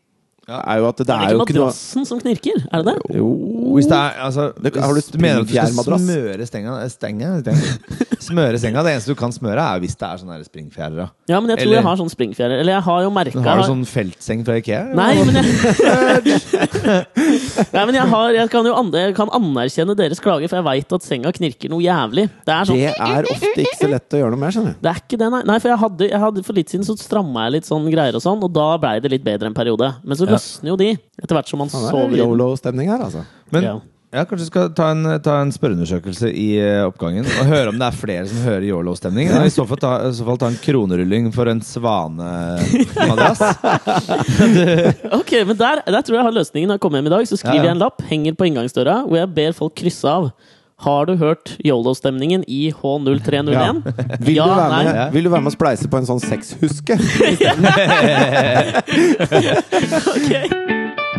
er jo at det
Er
er,
det
jo
ikke
ikke noe
madrassen som knirker? Er det det?
Jo
Hvis det er, altså,
Det- har du
hvis du mener at du skal
springfjærmadrass?
smøre stenga, eh, stenga, stenga Smøre senga, Det eneste du kan smøre, er hvis det er sånne her springfjærer. da.
Ja, men jeg tror
Eller-
jeg har sånn springfjære. Eller jeg har jo merka
Har du sånn feltseng fra Ikea? eller?
Nei, men jeg Nei, men jeg, har, jeg kan jo an jeg kan anerkjenne deres klager, for jeg veit at senga knirker noe jævlig. Det er sånn
Det er ofte ikke så lett å gjøre noe med, skjønner du.
Det er ikke det, nei. nei for jeg hadde, jeg hadde for litt siden så stramma jeg litt sånn greier og sånn, og da blei det litt bedre en periode. Men så løsner jo de etter hvert som man
Det er
sover. i den.
Yolo-stemning her, altså.
Men
Ja.
ja. Kanskje du skal ta en, ta en spørreundersøkelse i eh, oppgangen og høre om det er flere som hører yolo-stemning. Og I så fall, ta, i så fall ta en kronerulling for en svanemadrass.
Ok, men der, der tror jeg jeg har løsningen. Når jeg kommer hjem i dag, så skriver
Ja, ja.
jeg en lapp, henger på inngangsdøra, hvor jeg ber folk krysse av. Har du hørt YOLO-stemningen i H0301?
Ja. Vil,
Ja,
du være
nei.
med, vil du være med og spleise på en sånn sexhuske?
Ok.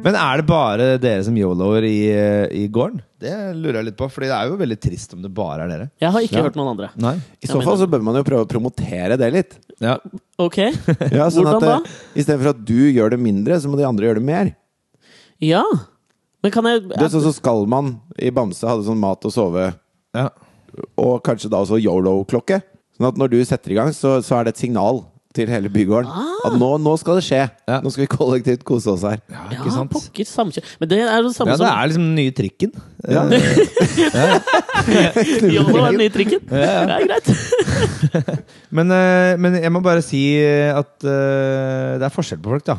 Men er det bare dere som yoloer i, eh, i gården? Det lurer jeg litt på, Fordi det er jo veldig trist om det bare er dere.
Jeg har ikke
Ja.
hørt noen andre.
Nei?
I så fall så bør man jo prøve å promotere det litt.
Ja.
Ok.
Ja, sånn
Hvordan
at
da?
eh, I stedet for at du gjør det mindre, så må de andre gjøre det mer.
Ja. Men kan jeg
Det er sånn som Skallmann i Bamse hadde sånn mat og sove,
ja.
og kanskje da også yolo-klokke. Sånn at når du setter i gang, så, så er det et signal til hele bygården.
Ah.
At nå, nå skal det skje!
Ja.
Nå skal vi kollektivt kose oss her.
ja,
Ja,
ikke sant?
pokker altså. samkjø... Men det er jo det samme
Ja, det er liksom den nye trikken.
Ja.
som YOLO er den nye trikken. Det er greit.
Men, eh, men jeg må bare si eh, at eh, det er forskjell på folk, da.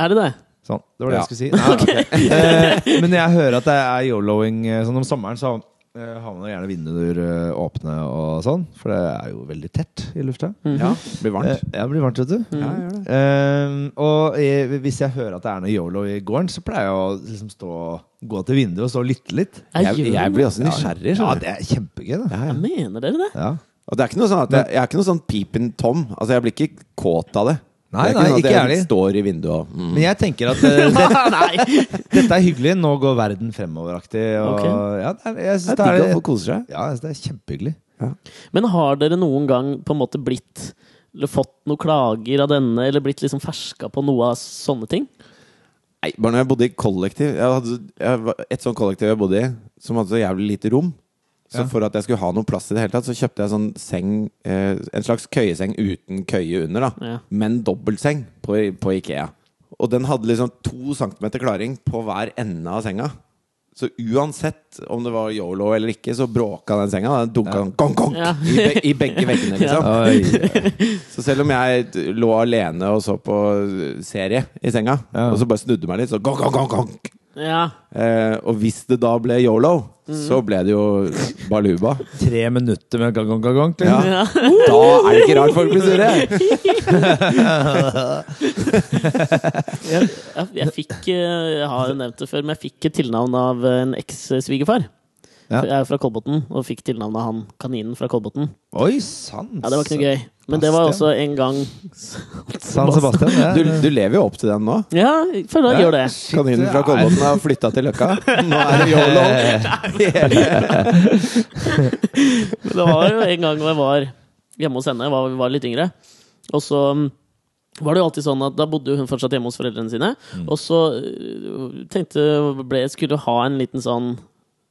Er det det?
Sånn, det var det
Ja.
jeg skulle si. Nei, ok. Eh, men jeg hører at det er yoloing eh, sånn om sommeren, så eh, har man jo gjerne vinduer eh, åpne og sånn, for det er jo veldig tett i lufta.
Ja,
Eh,
blir varmt.
ja, det blir varmt, vet du.
Mm.
Ja, gjør det.
Eh, og jeg, hvis jeg hører at det er noe yolo i gården, så pleier jeg å liksom stå, gå til vinduet og stå og lytte litt.
Jeg, jeg blir også nysgjerrig.
Ja,
skjønner du.
det er kjempegøy, da.
Ja, ja.
Jeg mener dere det?
Ja.
Og det er ikke noe sånn at jeg, jeg er ikke noe sånn pipen tom. Altså, jeg blir ikke kåt av det.
Nei,
det er
nei,
ikke, sånn at
ikke
jeg
ærlig.
står i vinduet og mm.
Men jeg tenker at eh, det,
Nei.
dette er hyggelig. Nå går verden fremoveraktig. Og,
Ok.
ja, det er, jeg synes
Det
det
er digg
er,
å få kose seg.
ja, jeg synes det er kjempehyggelig.
Men har dere noen gang på en måte blitt eller fått noen klager av denne, eller blitt liksom ferska på noe av sånne ting?
Nei, bare når jeg bodde i kollektiv jeg hadde, jeg, var- Et sånt kollektiv jeg bodde i, som hadde så jævlig lite rom. Så
Ja.
for at jeg skulle ha noe plass i det hele tatt, så kjøpte jeg sånn seng eh, En slags køyeseng uten køye under, da.
Ja.
Men dobbeltseng på, på Ikea. Og den hadde liksom to centimeter klaring på hver ende av senga. Så uansett om det var yolo eller ikke, så bråka den senga. Den dunka sånn gong, gong,
Ja.
i, be i begge veggene, liksom.
Oi.
Så selv om jeg d- lå alene og så på serie i senga,
Ja.
og så bare snudde meg litt, så gong, gong, gong, gong.
Ja.
Eh, og hvis det da ble yolo, så
Mhm.
ble det jo baluba.
Tre minutter med gang, gang, gang, gang.
Ja.
liksom.
Ja.
Da er det ikke rart folk blir sure!
Jeg, jeg, jeg fikk eh, Jeg har jo nevnt det før, men jeg fikk et tilnavn av eh, en eks-svigerfar.
Ja.
Jeg er jo fra Kolbotn, og fikk tilnavn av han kaninen fra Kolbotn.
Oi, sans!
Ja, det var ikke noe gøy. Men det var også en gang
San Sebastian, ja.
Du, du lever jo opp til den nå.
Ja, jeg føler jeg gjør det.
Kaninen fra Kolbotn har flytta til Løkka. Eh, Nå er det yolo.
Men det var jo en gang hvor jeg var hjemme hos henne, var, var litt yngre. Og så mm, var det jo alltid sånn at da bodde jo hun fortsatt hjemme hos foreldrene sine.
Mm.
Og så øh, tenkte ble, skulle ha en liten sånn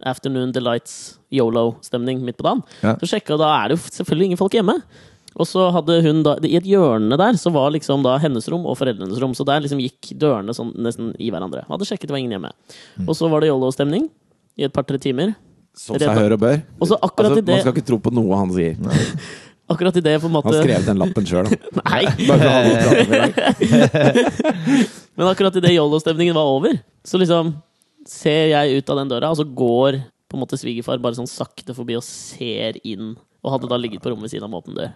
Afternoon Delights Yolo-stemning midt på dagen.
Ja.
Så sjekka, da er det jo selvfølgelig ingen folk hjemme. Og så hadde hun da, I et hjørne der så var liksom da hennes rom og foreldrenes rom. Så der liksom gikk dørene sånn nesten i hverandre. Hadde sjekket det var ingen hjemme.
Mm.
Og så var det yolo-stemning i et par-tre timer.
Som seg hør og bør.
Og så akkurat i
Altså, man
det
skal ikke tro på noe han sier.
Akkurat i det på en måte
Han skrev den lappen sjøl.
Nei,
Nei,
men akkurat i det Yolo-stemningen var over, så liksom ser jeg ut av den døra, og så går på en måte svigerfar bare sånn sakte forbi og ser inn. Og hadde da ligget på rommet ved siden av med åpen dør.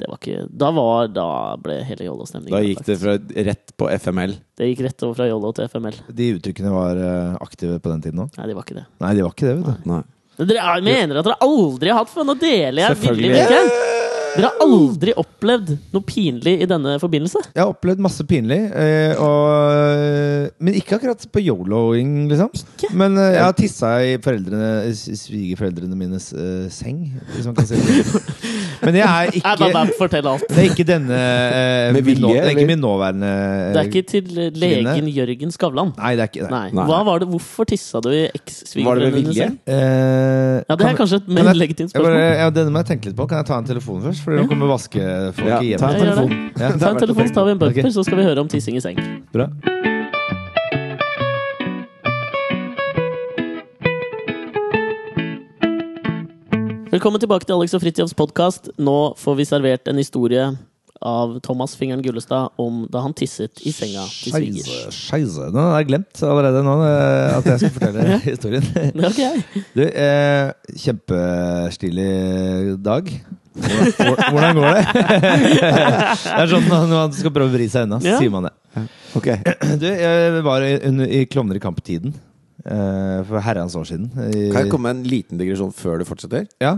Det var ikke Da var Da ble hele Yolo-stemningen
Da gikk det
ødelagt.
fra rett på FML.
Det gikk rett over fra Yolo til FML.
De uttrykkene var eh, aktive på den tiden òg?
Nei, det var ikke det.
Nei, de var ikke det, vet du.
Nei.
Men dere er, mener at dere aldri har hatt for Nå deler jeg villig
Selvfølgelig.
blikket. Dere har aldri opplevd noe pinlig i denne forbindelse.
Jeg har opplevd masse pinlig, eh, og, eh, men ikke akkurat på yoloing, liksom.
Ikke?
Men eh, jeg har tissa i foreldrene, s- svigerforeldrene mines eh, seng, hvis man kan si det. Men jeg er
Nei, bare,
ikke
bare fortell alt.
Det er ikke denne eh,
Med
min nå,
vilje,
Det er ikke
eller?
min nåværende eh,
Det er ikke til legen Jørgen Skavlan.
Nei, det er ikke det.
Nei.
Nei.
Hva var det, hvorfor tissa du i
Var det med
eks-svigerforeldrene
vilje?
sin?
Eh,
Ja, det er
kan-
kanskje et
kan
mer
jeg-
legitimt
Jeg bare,
spørsmål.
ja, denne må jeg tenke litt på. Kan jeg ta en telefon først? Fordi nå kommer vaskefolket
Ja,
hjem.
ta
Ja,
en
gjør
telefon.
Ja,
Ta en telefon, så tar vi en bumper,
Ok.
så skal vi høre om tissing i seng.
Bra.
Velkommen tilbake til Alex og Fritjofs podkast. Nå får vi servert en historie av Thomas Fingeren Gullestad om da han tisset i senga til svigers.
Scheisse, scheisse. Nå har jeg glemt allerede nå eh, at jeg skal fortelle historien.
Det har ikke jeg.
Du, eh, kjempestilig dag. Hvordan, hvor- hvordan går det? Det er sånn når man skal prøve å vri seg unna, så
Ja.
sier man det.
Ok.
Du, jeg var i, under, i Klovner i kamptiden eh, for herrens år siden. I,
Kan jeg komme med en liten digresjon før du fortsetter?
Ja,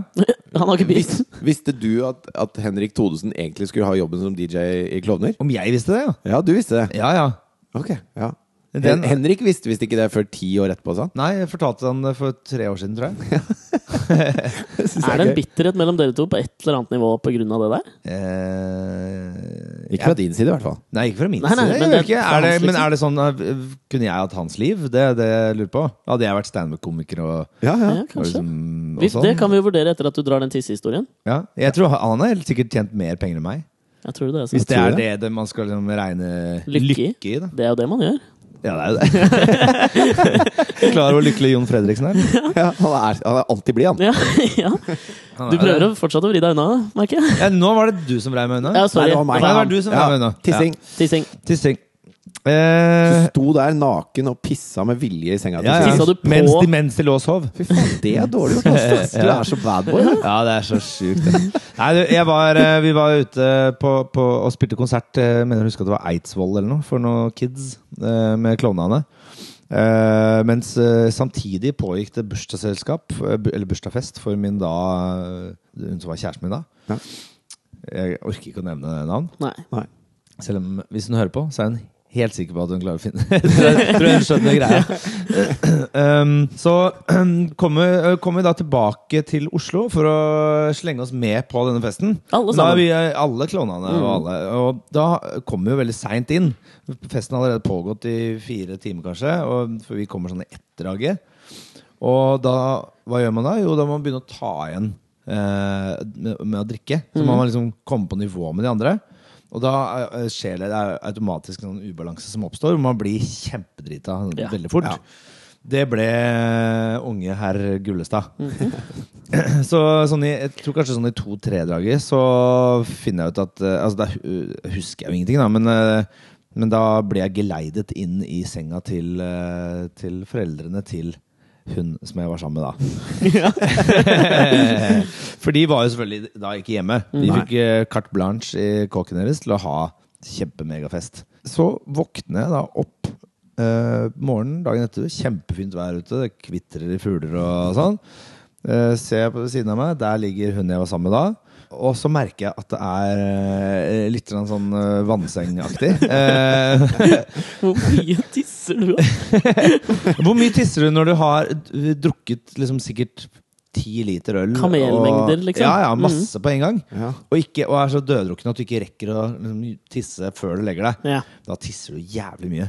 Han har ikke bil.
Visste du at, at Henrik Thodesen egentlig skulle ha jobben som DJ i Klovner?
Om jeg visste det, ja?
Ja, du visste det.
Ja, ja.
Ok, ja
Den-
Hen Henrik visste visst ikke det før ti år etterpå, sa han.
Nei, jeg fortalte han det for tre år siden, tror jeg.
Er det en bitterhet mellom dere to på et eller annet nivå pga. det der?
Eh,
Ikke fra din side, i hvert fall.
Nei, ikke fra min
Nei, nei,
side.
men
Men,
det er
ikke.
fra
Er det,
hans,
men
liksom.
er det sånn eh, Kunne jeg hatt hans liv? Det er det jeg lurer på. Hadde jeg vært standup-komiker og,
Ja,
Ja,
og,
kanskje.
liksom, og
Vi,
sånn?
det kan vi jo vurdere etter at du drar den tissehistorien.
ja. Jeg tror han har helt sikkert tjent mer penger enn meg.
Jeg tror det er
Hvis
sånn.
det
tror
er
jeg.
det, det man skal liksom regne
Lykke i.
i. da.
Det er jo det man gjør.
Ja, det er jo det. Klar over hvor lykkelig Jon Fredriksen er.
Ja, han, er, han er alltid blid, han.
Ja, ja. Du prøver å fortsatt å vri deg unna, merker jeg.
ja, Nå var det du som reiv meg unna.
Ja, sorry.
Nei, det var
Nei,
meg.
det var du
sånn-
som
Ja,
reiv meg unna.
Tissing.
Ja.
Tissing.
Tissing.
Du
Eh,
sto der naken og pissa med vilje i senga til
ja, ja.
Tissa
Sivert.
du på-
Mens, de, mens de lå og sov.
Fy faen, det er dårlig gjort, ass. Du er så bad boy. da.
Ja, det er så sjukt. det. Nei, du, jeg var, eh, vi var ute på, på, og spilte konsert eh, jeg Mener jeg husker at det var Eidsvoll eller noe, for noen kids eh, med klovnene. Eh, mens eh, samtidig pågikk det bursdagsselskap, eh, bu- eller bursdagsfest, for min da eh, Hun som var kjæresten min da.
Ja.
Jeg orker ikke å nevne navn.
Nei.
Nei.
Selv om hvis hun hører på, så er hun helt sikker på at hun klarer å finne Tror jeg- tror jeg hun skjønner greia. Um, så um, kommer kommer vi da tilbake til Oslo for å slenge oss med på denne festen.
Alle
Da er
sammen. Mm.
vi eh, alle klovnene og alle. Og da kommer vi jo veldig seint inn. Festen har allerede pågått i fire timer, kanskje, og, for vi kommer sånn i etterdraget. Og da, hva gjør man da? Jo, da må man begynne å ta igjen eh, med, med å drikke. Så
Mhm.
man må liksom komme på nivå med de andre. Og da eh, skjer det, det er automatisk en sånn ubalanse som oppstår, hvor man blir kjempedrita
Ja.
veldig fort. Det ble unge herr Gullestad. så sånn i, jeg tror kanskje sånn i to-tre dager så finner jeg ut at eh, Altså, da hu- husker jeg jo ingenting, da, men, eh, men da blir jeg geleidet inn i senga til, eh, til foreldrene til hun som jeg var sammen med da. For de var jo selvfølgelig da ikke hjemme. De
Nei.
fikk eh, carte blanche i kåken deres til å ha kjempemegafest. Så våkner jeg da opp eh, morgenen dagen etter. Kjempefint vær ute, det kvitrer i fugler og sånn. Eh, ser jeg på siden av meg, der ligger hun jeg var sammen med da. Og så merker jeg at det er eh, litt grann sånn eh, vannsengaktig. Eh,
Hvor mye tisser du av?
hvor mye tisser du når du har d- drukket liksom sikkert ti liter øl? og-
Kamelmengder, liksom.
Ja, ja, masse på en gang.
Ja.
Og, ikke, og er så døddrukken at du ikke rekker å liksom, tisse før du legger deg.
Ja. Mhm.
Da tisser du jævlig mye.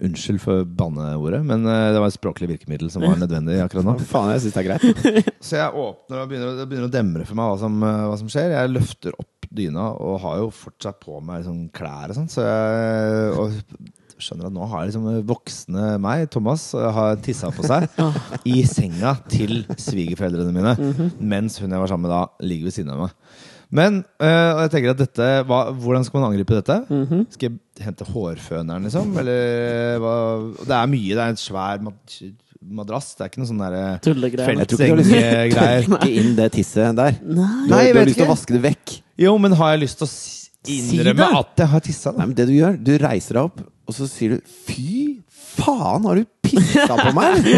Unnskyld for banneordet, men eh, det var et språklig virkemiddel som var nødvendig akkurat nå.
Faen, jeg syns det er greit.
Så jeg åpner og begynner, det begynner å demre for meg hva som, eh, hva som skjer. Jeg løfter opp dyna og har jo fortsatt på meg liksom, klær og sånn, så jeg og skjønner at nå har liksom voksne meg, Thomas, eh, har tissa på seg i senga til svigerforeldrene mine,
Mhm.
mens hun jeg var sammen med da, ligger ved siden av meg. Men eh, og jeg tenker at dette, hva, hvordan skal man angripe dette?
Mhm.
Skal jeg hente hårføneren, liksom? Eller hva? Det er mye. Det er en svær mad- madrass. Det er ikke noe sånn derre
Tullegreier.
Felt.
Jeg tror ikke du har lyst til å
Sengegreier.
tørke inn det tisset der.
Nei.
Du,
Nei, jeg
du har
vet
lyst til å
ikke.
vaske det vekk.
Jo, men har jeg lyst til å s-
Si
innrømme
det.
at jeg har tissa?
Nei, men det du gjør, du reiser deg opp, og så sier du 'fy faen, har du pissa på meg?'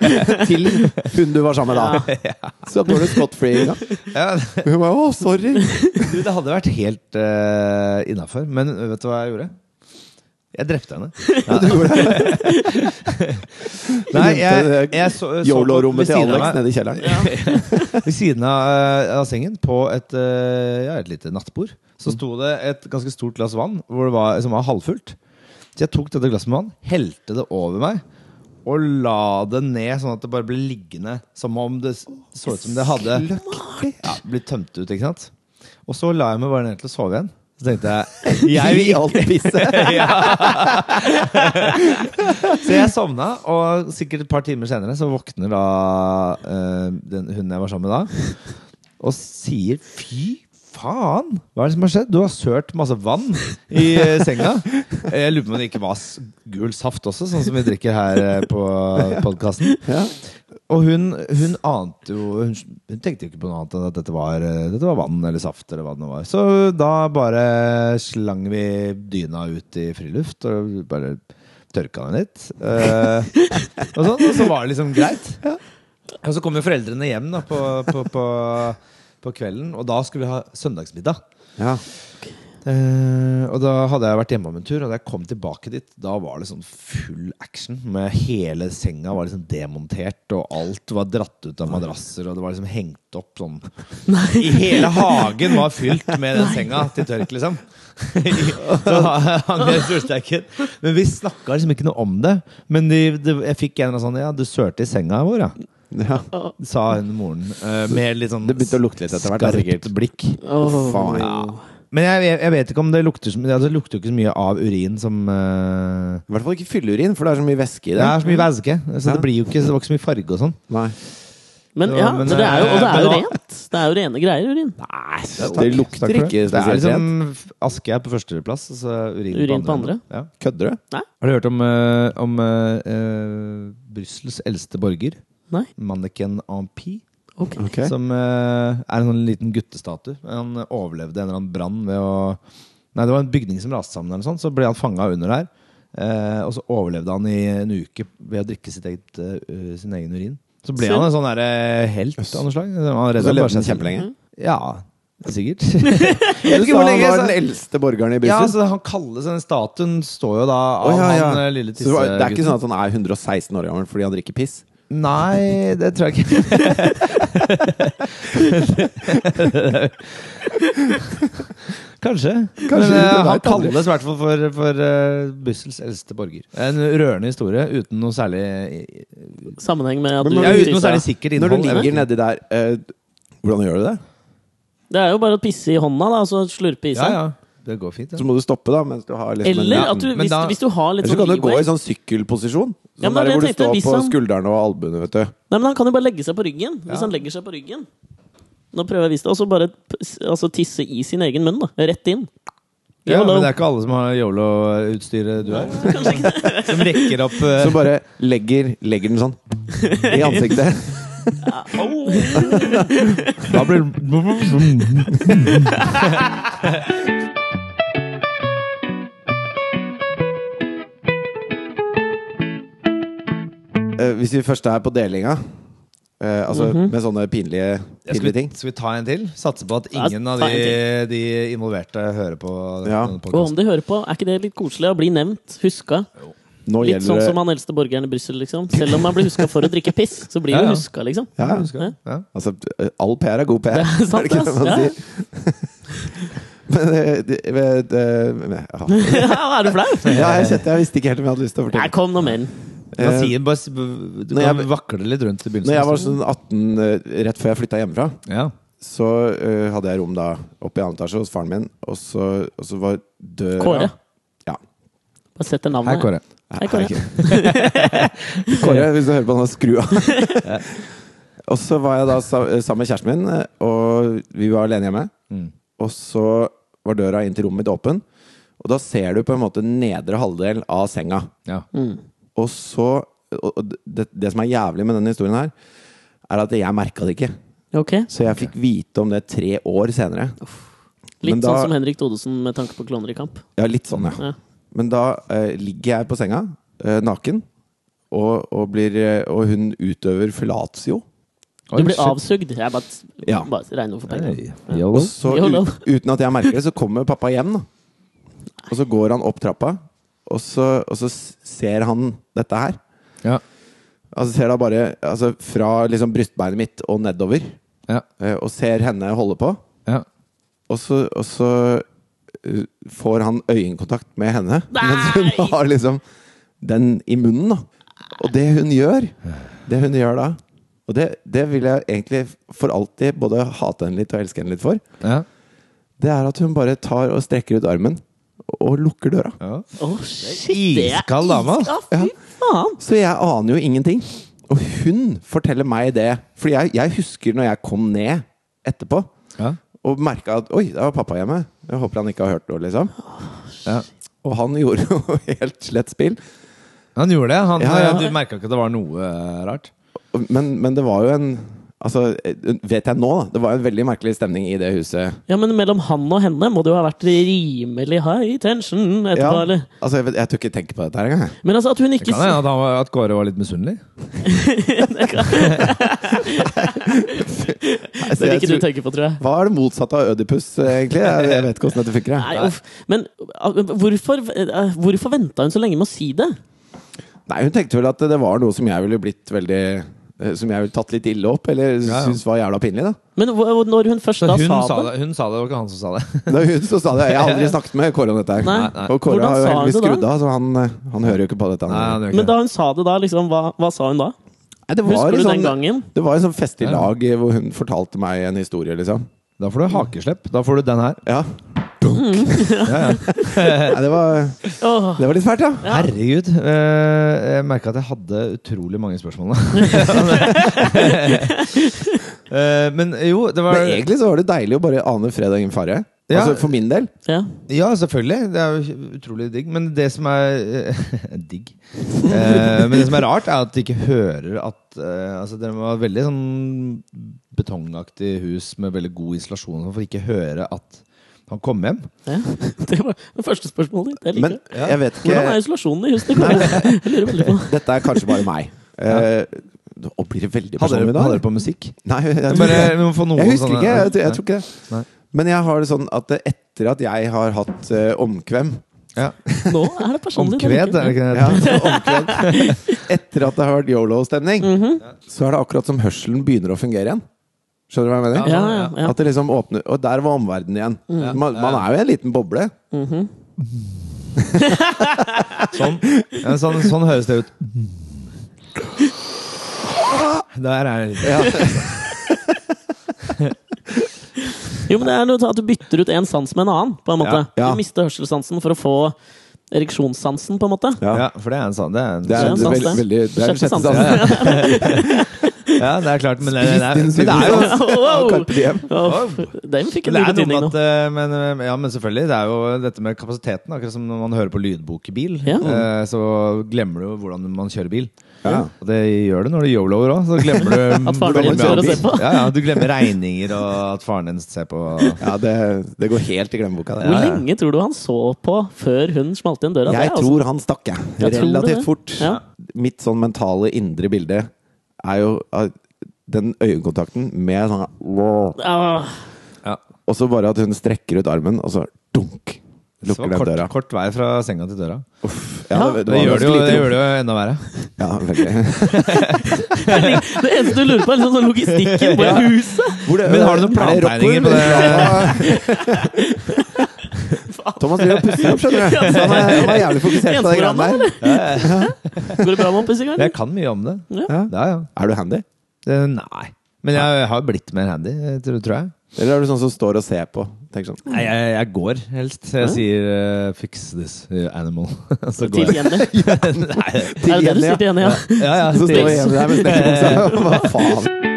Til hun du var sammen med da. Så går du scot free. Ja.
Ja,
Hun bare 'å, sorry'.
du, det hadde vært helt uh, innafor. Men vet du hva jeg gjorde? Jeg drepte henne.
Du gjorde det.
Nei, jeg, jeg så, så på- ved
Yolo-rommet til
siden av
Alex
meg-
nede i kjelleren.
Ved siden av, eh, av sengen, på et, eh, ja, et lite nattbord, så sto det et ganske stort glass vann hvor det var, som var halvfullt. Så jeg tok dette glasset med vann, helte det over meg. Og la det ned sånn at det bare ble liggende som om det s- så ut som det hadde
Løkkelig.
ja, blitt tømt ut, ikke sant? Og så la jeg meg bare ned til å sove igjen. Så tenkte jeg jeg vil ikke.
alt pisset.
Så jeg sovna, og sikkert et par timer senere så våkner da eh, den hunden jeg var sammen med da, og sier 'fy faen', hva er det som har skjedd? Du har sølt masse vann i eh, senga. Jeg lurer på om det ikke var s- gul saft også, sånn som vi drikker her eh, på podkasten.
Ja.
Og hun, hun ante jo hun, hun tenkte jo ikke på noe annet enn at dette var, eh, dette var vann eller saft eller hva det nå var. Så da bare slang vi dyna ut i friluft og bare tørka den litt. eh, og, sånn, og så var det liksom greit. Og så kom jo foreldrene hjem da på, på, på, på kvelden, og da skulle vi ha søndagsmiddag.
Ja.
Eh, og da hadde jeg vært hjemme om en tur, og da jeg kom tilbake dit, da var det sånn full action. Med hele senga var liksom demontert, og alt var dratt ut av madrasser, og det var liksom hengt opp sånn I hele hagen var fylt med den senga til tørk, liksom. Så hang jeg i solstekken. Men vi snakka liksom ikke noe om det. Men de, de, jeg fikk en eller annen sånn Ja, du sørte i senga vår, ja.
ja.
Sa hun moren. eh, med litt sånn
Det begynte å lukte litt etter hvert, da, sikkert.
skarpt blikk.
Åh.
Faen, ja.
Men jeg, jeg, jeg vet ikke om det lukter så mye Det lukter jo ikke så mye av urin som eh,
I hvert fall ikke fylleurin, for det er så mye væske i
Det
det.
er så mye væske, så
Ja.
det blir jo ikke Det var ikke så mye farge og sånn.
Nei.
Men
Ja,
ja,
men,
så det er jo, og det er jo
eh, men da-
rent. Det er jo rene greier, urin.
Det lukter ikke
Det er
spesielt
liksom
rent.
aske er på førsteplass, og så er urin,
Urin på andre.
Ja.
Kødder du?
Har du hørt om, eh, om eh, eh, Brussels eldste borger?
Nei.
Manneken Ampie?
Ok.
Ok.
Som eh, er en sånn liten guttestatue. Han overlevde en eller annen brann ved å Nei, det var en bygning som raste sammen, eller noe sånt, så ble han fanga under der. eh, og så overlevde han i en uke ved å drikke sitt eget, eh, sin egen urin. Så ble
Se.
han en sånn der, eh, helt av noe slag. Han
Så
redda
levde
bare
den
seg
kjempelenge.
Ja, sikkert. Jeg
Du
vet ikke
sa
hvor
han
lenge
var
så-
den eldste borgeren i
ja,
Brussel.
altså, han kalles den statuen, står jo da av
Å, ja, ja.
han eh, lille
Så det var- det er ikke
tissegutten.
sånn at han er 116 år gammel fordi han drikker piss?
Nei, det tror jeg ikke. Kanskje. Men eh,
du
han
vet aldri.
kalles i hvert fall for, for eh, Brussels eldste borger. En rørende historie uten noe særlig
Sammenheng med at
Men
du
når
ja,
du
Uten noe
tisser-
særlig sikkert
Når du
innhold. jeg vet
ligger nedi der, eh, hvordan gjør du det?
Det er jo bare å pisse i hånda, da, og så slurpe i
ikke. ja,
seg.
ja. Det går fint,
Så må du stoppe, da, mens du har liksom en
Eller
ja,
at du,
men
hvis,
da-
hvis du har litt
Eller så
sånn
kan du gå
leeway
i sånn sykkelposisjon. Sånn
Ja, men det
der
er
hvor du
det jeg tenkte,
står
hvis
på
han-
skuldrene og albuene, vet du.
Nei, men han kan jo bare legge seg på ryggen. Hvis
Ja.
han legger seg på ryggen Nå prøver jeg å vise det. Og så bare p- s- altså, tisse i sin egen munn, da. Rett inn.
Ja,
Yolo.
men det er ikke alle som har yolo-utstyret du har. Som rekker opp eh,
Så bare legger, legger den sånn i ansiktet.
Da blir det
Eh, hvis vi først er på delinga, eh, altså
Mhm.
med sånne pinlige,
skal vi,
pinlige ting
skal vi ta en til? Satse på at
Ja,
ingen av
ta
de,
en
de involverte hører på denne
Ja.
Og om
podcasten.
de hører på, er ikke det litt koselig å bli nevnt? Huska?
Nå
Litt
gjelder
sånn som
det
han eldste borgeren i Brussel, liksom. Selv om han blir huska for å drikke piss, så blir
Ja,
han
ja.
huska, liksom.
ja,
Husker jeg. Ja.
altså, All PR er god PR.
Det er sant,
det ikke det
ass.
man
Ja.
sier? Men eh, det- eh, det- ja.
Ja, er du flau?
ja, jeg kjente jeg visste ikke helt om jeg hadde lyst til å
Nei,
fortelle.
kom nå mer.
Du kan,
Eh,
si, bare, si- du
når
kan
jeg-
vakle litt rundt i begynnelsen.
Når jeg var sånn 18, eh, rett før jeg flytta hjemmefra,
ja.
så eh, hadde jeg rom da oppe i annen etasje hos faren min, og så, og så var døra
Kåre.
Ja.
Bare setter
Hei,
navnet.
Kåre.
Hei, Kåre.
Kåre, hvis du hører på nå, skru av. og så var jeg da sa- sammen med kjæresten min, eh, og vi var alene hjemme.
Mm.
Og så var døra inn til rommet mitt åpen, og da ser du på en måte nedre halvdel av senga.
Ja.
Og så og og det, det som er jævlig med denne historien her, er at jeg merka det ikke.
Ok.
Så jeg fikk vite om det tre år senere. Men
Litt
da-
sånn som Henrik Thodesen med tanke på kloner i kamp.
Ja, litt sånn, ja.
Ja.
Men da eh, ligger jeg på senga, eh, naken, og, og, blir, eh, og hun utøver fellatio.
Du blir avsugd. Jeg bare,
Ja.
bare regner for penger.
Hei.
Og
Oh,
Yolo.
så,
Jo, da.
ut, uten at jeg merker det, så kommer pappa hjem, da. Og så går han opp trappa, og så, og så s- ser han dette her.
Ja.
Altså ser da bare altså, fra liksom brystbeinet mitt og nedover,
Ja.
eh, og ser henne holde på.
Ja.
Og så, og så eh, får han øyekontakt med henne,
Nei!
mens hun har liksom den i munnen. da. Og det hun gjør, det hun gjør da Og det, det vil jeg egentlig for alltid både hate henne litt og elske henne litt for.
Ja.
Det er at hun bare tar og strekker ut armen og lukker døra.
Ja.
Å, shit! Det er
Iskald dame, altså. ass.
iskald, Fy faen!
Så jeg aner jo ingenting. Og hun forteller meg det. Fordi jeg, jeg husker når jeg kom ned etterpå
Ja.
og merka at Oi, der var pappa hjemme. Jeg håper han ikke har hørt noe, liksom.
Ja.
Og han gjorde jo helt slett spill.
Han gjorde det. Han,
Ja, ja.
Du merka ikke at det var noe eh, rart?
Men, men det var jo en Altså, vet jeg nå, da. Det var en veldig merkelig stemning i det huset.
Ja, men mellom han og henne må det jo ha vært rimelig high tension etterpå,
Ja,
eller?
altså, jeg, vet- jeg tør ikke tenke på dette her engang. jeg.
Men altså, at hun
Det
ikke
kan hende at, han var- at Kåre var litt misunnelig.
Altså,
Det vil
jeg
ikke du
tror-
tenke på, tror jeg.
Hva er det motsatte av Ødipus, egentlig? Jeg, jeg vet ikke hvordan dette funker.
Nei,
Jeg.
uff. Men uh, hvorfor, uh, hvorfor venta hun så lenge med å si det?
Nei, hun tenkte vel at det var noe som jeg ville blitt veldig eh, Som jeg ville tatt litt ille opp, eller
Ja, ja.
syntes var jævla pinlig, da.
Men hva- når hun først
Så
da
hun,
sa,
sa
det,
det. hun sa det, det var ikke han som sa det.
Det var hun som sa det. Jeg har aldri snakket med Kåre om dette her.
Nei.
Nei, nei.
Og Kåre
Hvordan
har jo
sa hun
heldigvis
det
skrudd
da?
av, så han, eh, han hører jo ikke på dette.
Nei,
Han.
han gjør
Men
ikke det.
da hun sa det, da, liksom, hva, hva sa hun da?
Nei, det var
Husker
en
du den
sånn,
gangen?
det var en sånn fest i
Ja.
lag eh, hvor hun fortalte meg en historie, liksom.
Da får du hakeslepp. Da får du den her.
Ja. Nei, det var,
Åh,
det var litt fælt, ja.
Herregud. eh, jeg merka at jeg hadde utrolig mange spørsmål. Eh, men jo, det var
Men egentlig så var det deilig å bare ane fred og ingen fare.
Ja.
Altså, for min del.
ja.
Ja, selvfølgelig. Det er jo utrolig digg. Men det som er Digg. Eh, men det som er rart, er at de ikke hører at eh, Altså, det var et veldig sånn betongaktig hus med veldig god isolasjon, for ikke høre at han kom hjem.
ja. Det var det første spørsmålet ditt. Det liker
Men
jeg.
Ja.
jeg vet
Hvordan
ikke
er isolasjonen i huset? Jeg lurer veldig på.
Dette er kanskje bare meg. Eh, og blir det veldig
Hadde
personlig
dere,
da?
hadde dere på musikk?
Nei, jeg, tror
Bare,
ikke det.
vi må få noen
jeg husker
sånne-
ikke. Jeg, jeg tror ikke det.
Nei.
Men jeg har det sånn at eh, etter at jeg har hatt eh, omkvem
Ja.
Nå er det personlig. det
Omkved,
liker jeg.
er det ikke det?
ja, omkved Etter at det har vært yolo-stemning,
Mhm.
så er det akkurat som hørselen begynner å fungere igjen. Skjønner du hva jeg mener?
Ja, ja, ja. Mm.
At det liksom åpner Og der var omverdenen igjen. Man, man er jo i en liten boble.
Sånn, ja, sånn, sånn høres det ut. Der er det litt.
Jo, men det er noe at du bytter ut en sans med en annen, på en måte.
Ja, ja.
Du mister hørselssansen for å få ereksjonssansen, på en måte.
Ja.
Ja, for det er en sånn Det er en,
Det er,
en
det
sans,
er
det.
veldig, det er en
Sjette
sjette
sansen.
sans.
ja, det er klart, men det, det, er,
din
men det er jo
syvende.
Wow!
Carpe diem.
Wow. Den fikk
men
en ny
det er noe
betydning
med
nå.
at, eh, men, eh, ja, men selvfølgelig. Det er jo dette med kapasiteten. Akkurat som når man hører på lydbok i bil,
Ja.
eh, så glemmer du jo hvordan man kjører bil.
Ja.
Og det gjør du når du yoloer òg. Så glemmer du
At faren din
hvordan-
står og ser på.
Ja, ja, du glemmer regninger og at faren din ser på.
Ja, det, det går helt i glemmeboka.
Hvor
Det.
Ja, ja.
lenge tror du han så på før hun smalt igjen døra? Det
Jeg
er altså-
tror han stakk, jeg.
Jeg tror det.
Relativt fort.
Ja.
Mitt sånn mentale indre bilde er jo at den øyekontakten med sånn Og
Ah,
Ja.
så bare at hun strekker ut armen, og så dunk!
Så
Lukker den
kort,
døra.
kort vei fra senga til døra.
Ja,
Det gjør
var
det jo,
ganske lite
det
rom.
gjør det jo enda verre.
Ja, veldig.
Det eneste du lurer på, er liksom sånn logistikken på huset!
Men har du noen plantegninger på det?
Thomas driver og pusser opp, skjønner du. Så han er, han er jævlig fokusert på det
Jensebrann,
greiene der.
Går det bra med oppussing?
Jeg kan mye om det.
Ja.
Ja, ja.
Er du handy?
Eh, Nei. Men jeg har blitt mer handy, tror, tror jeg.
Eller er du sånn som står og ser på? Tenker sånn
Nei, jeg, jeg går helst. Jeg sier eh, 'fix this uh, animal'. Og så
Til
går jeg.
Jenny.
Nei.
Er det det du
Jenny, ja.
sier til Jenny, ja?
Ja, ja,
Så står
til-
Jenny der med snekkerbuksa. Hva faen?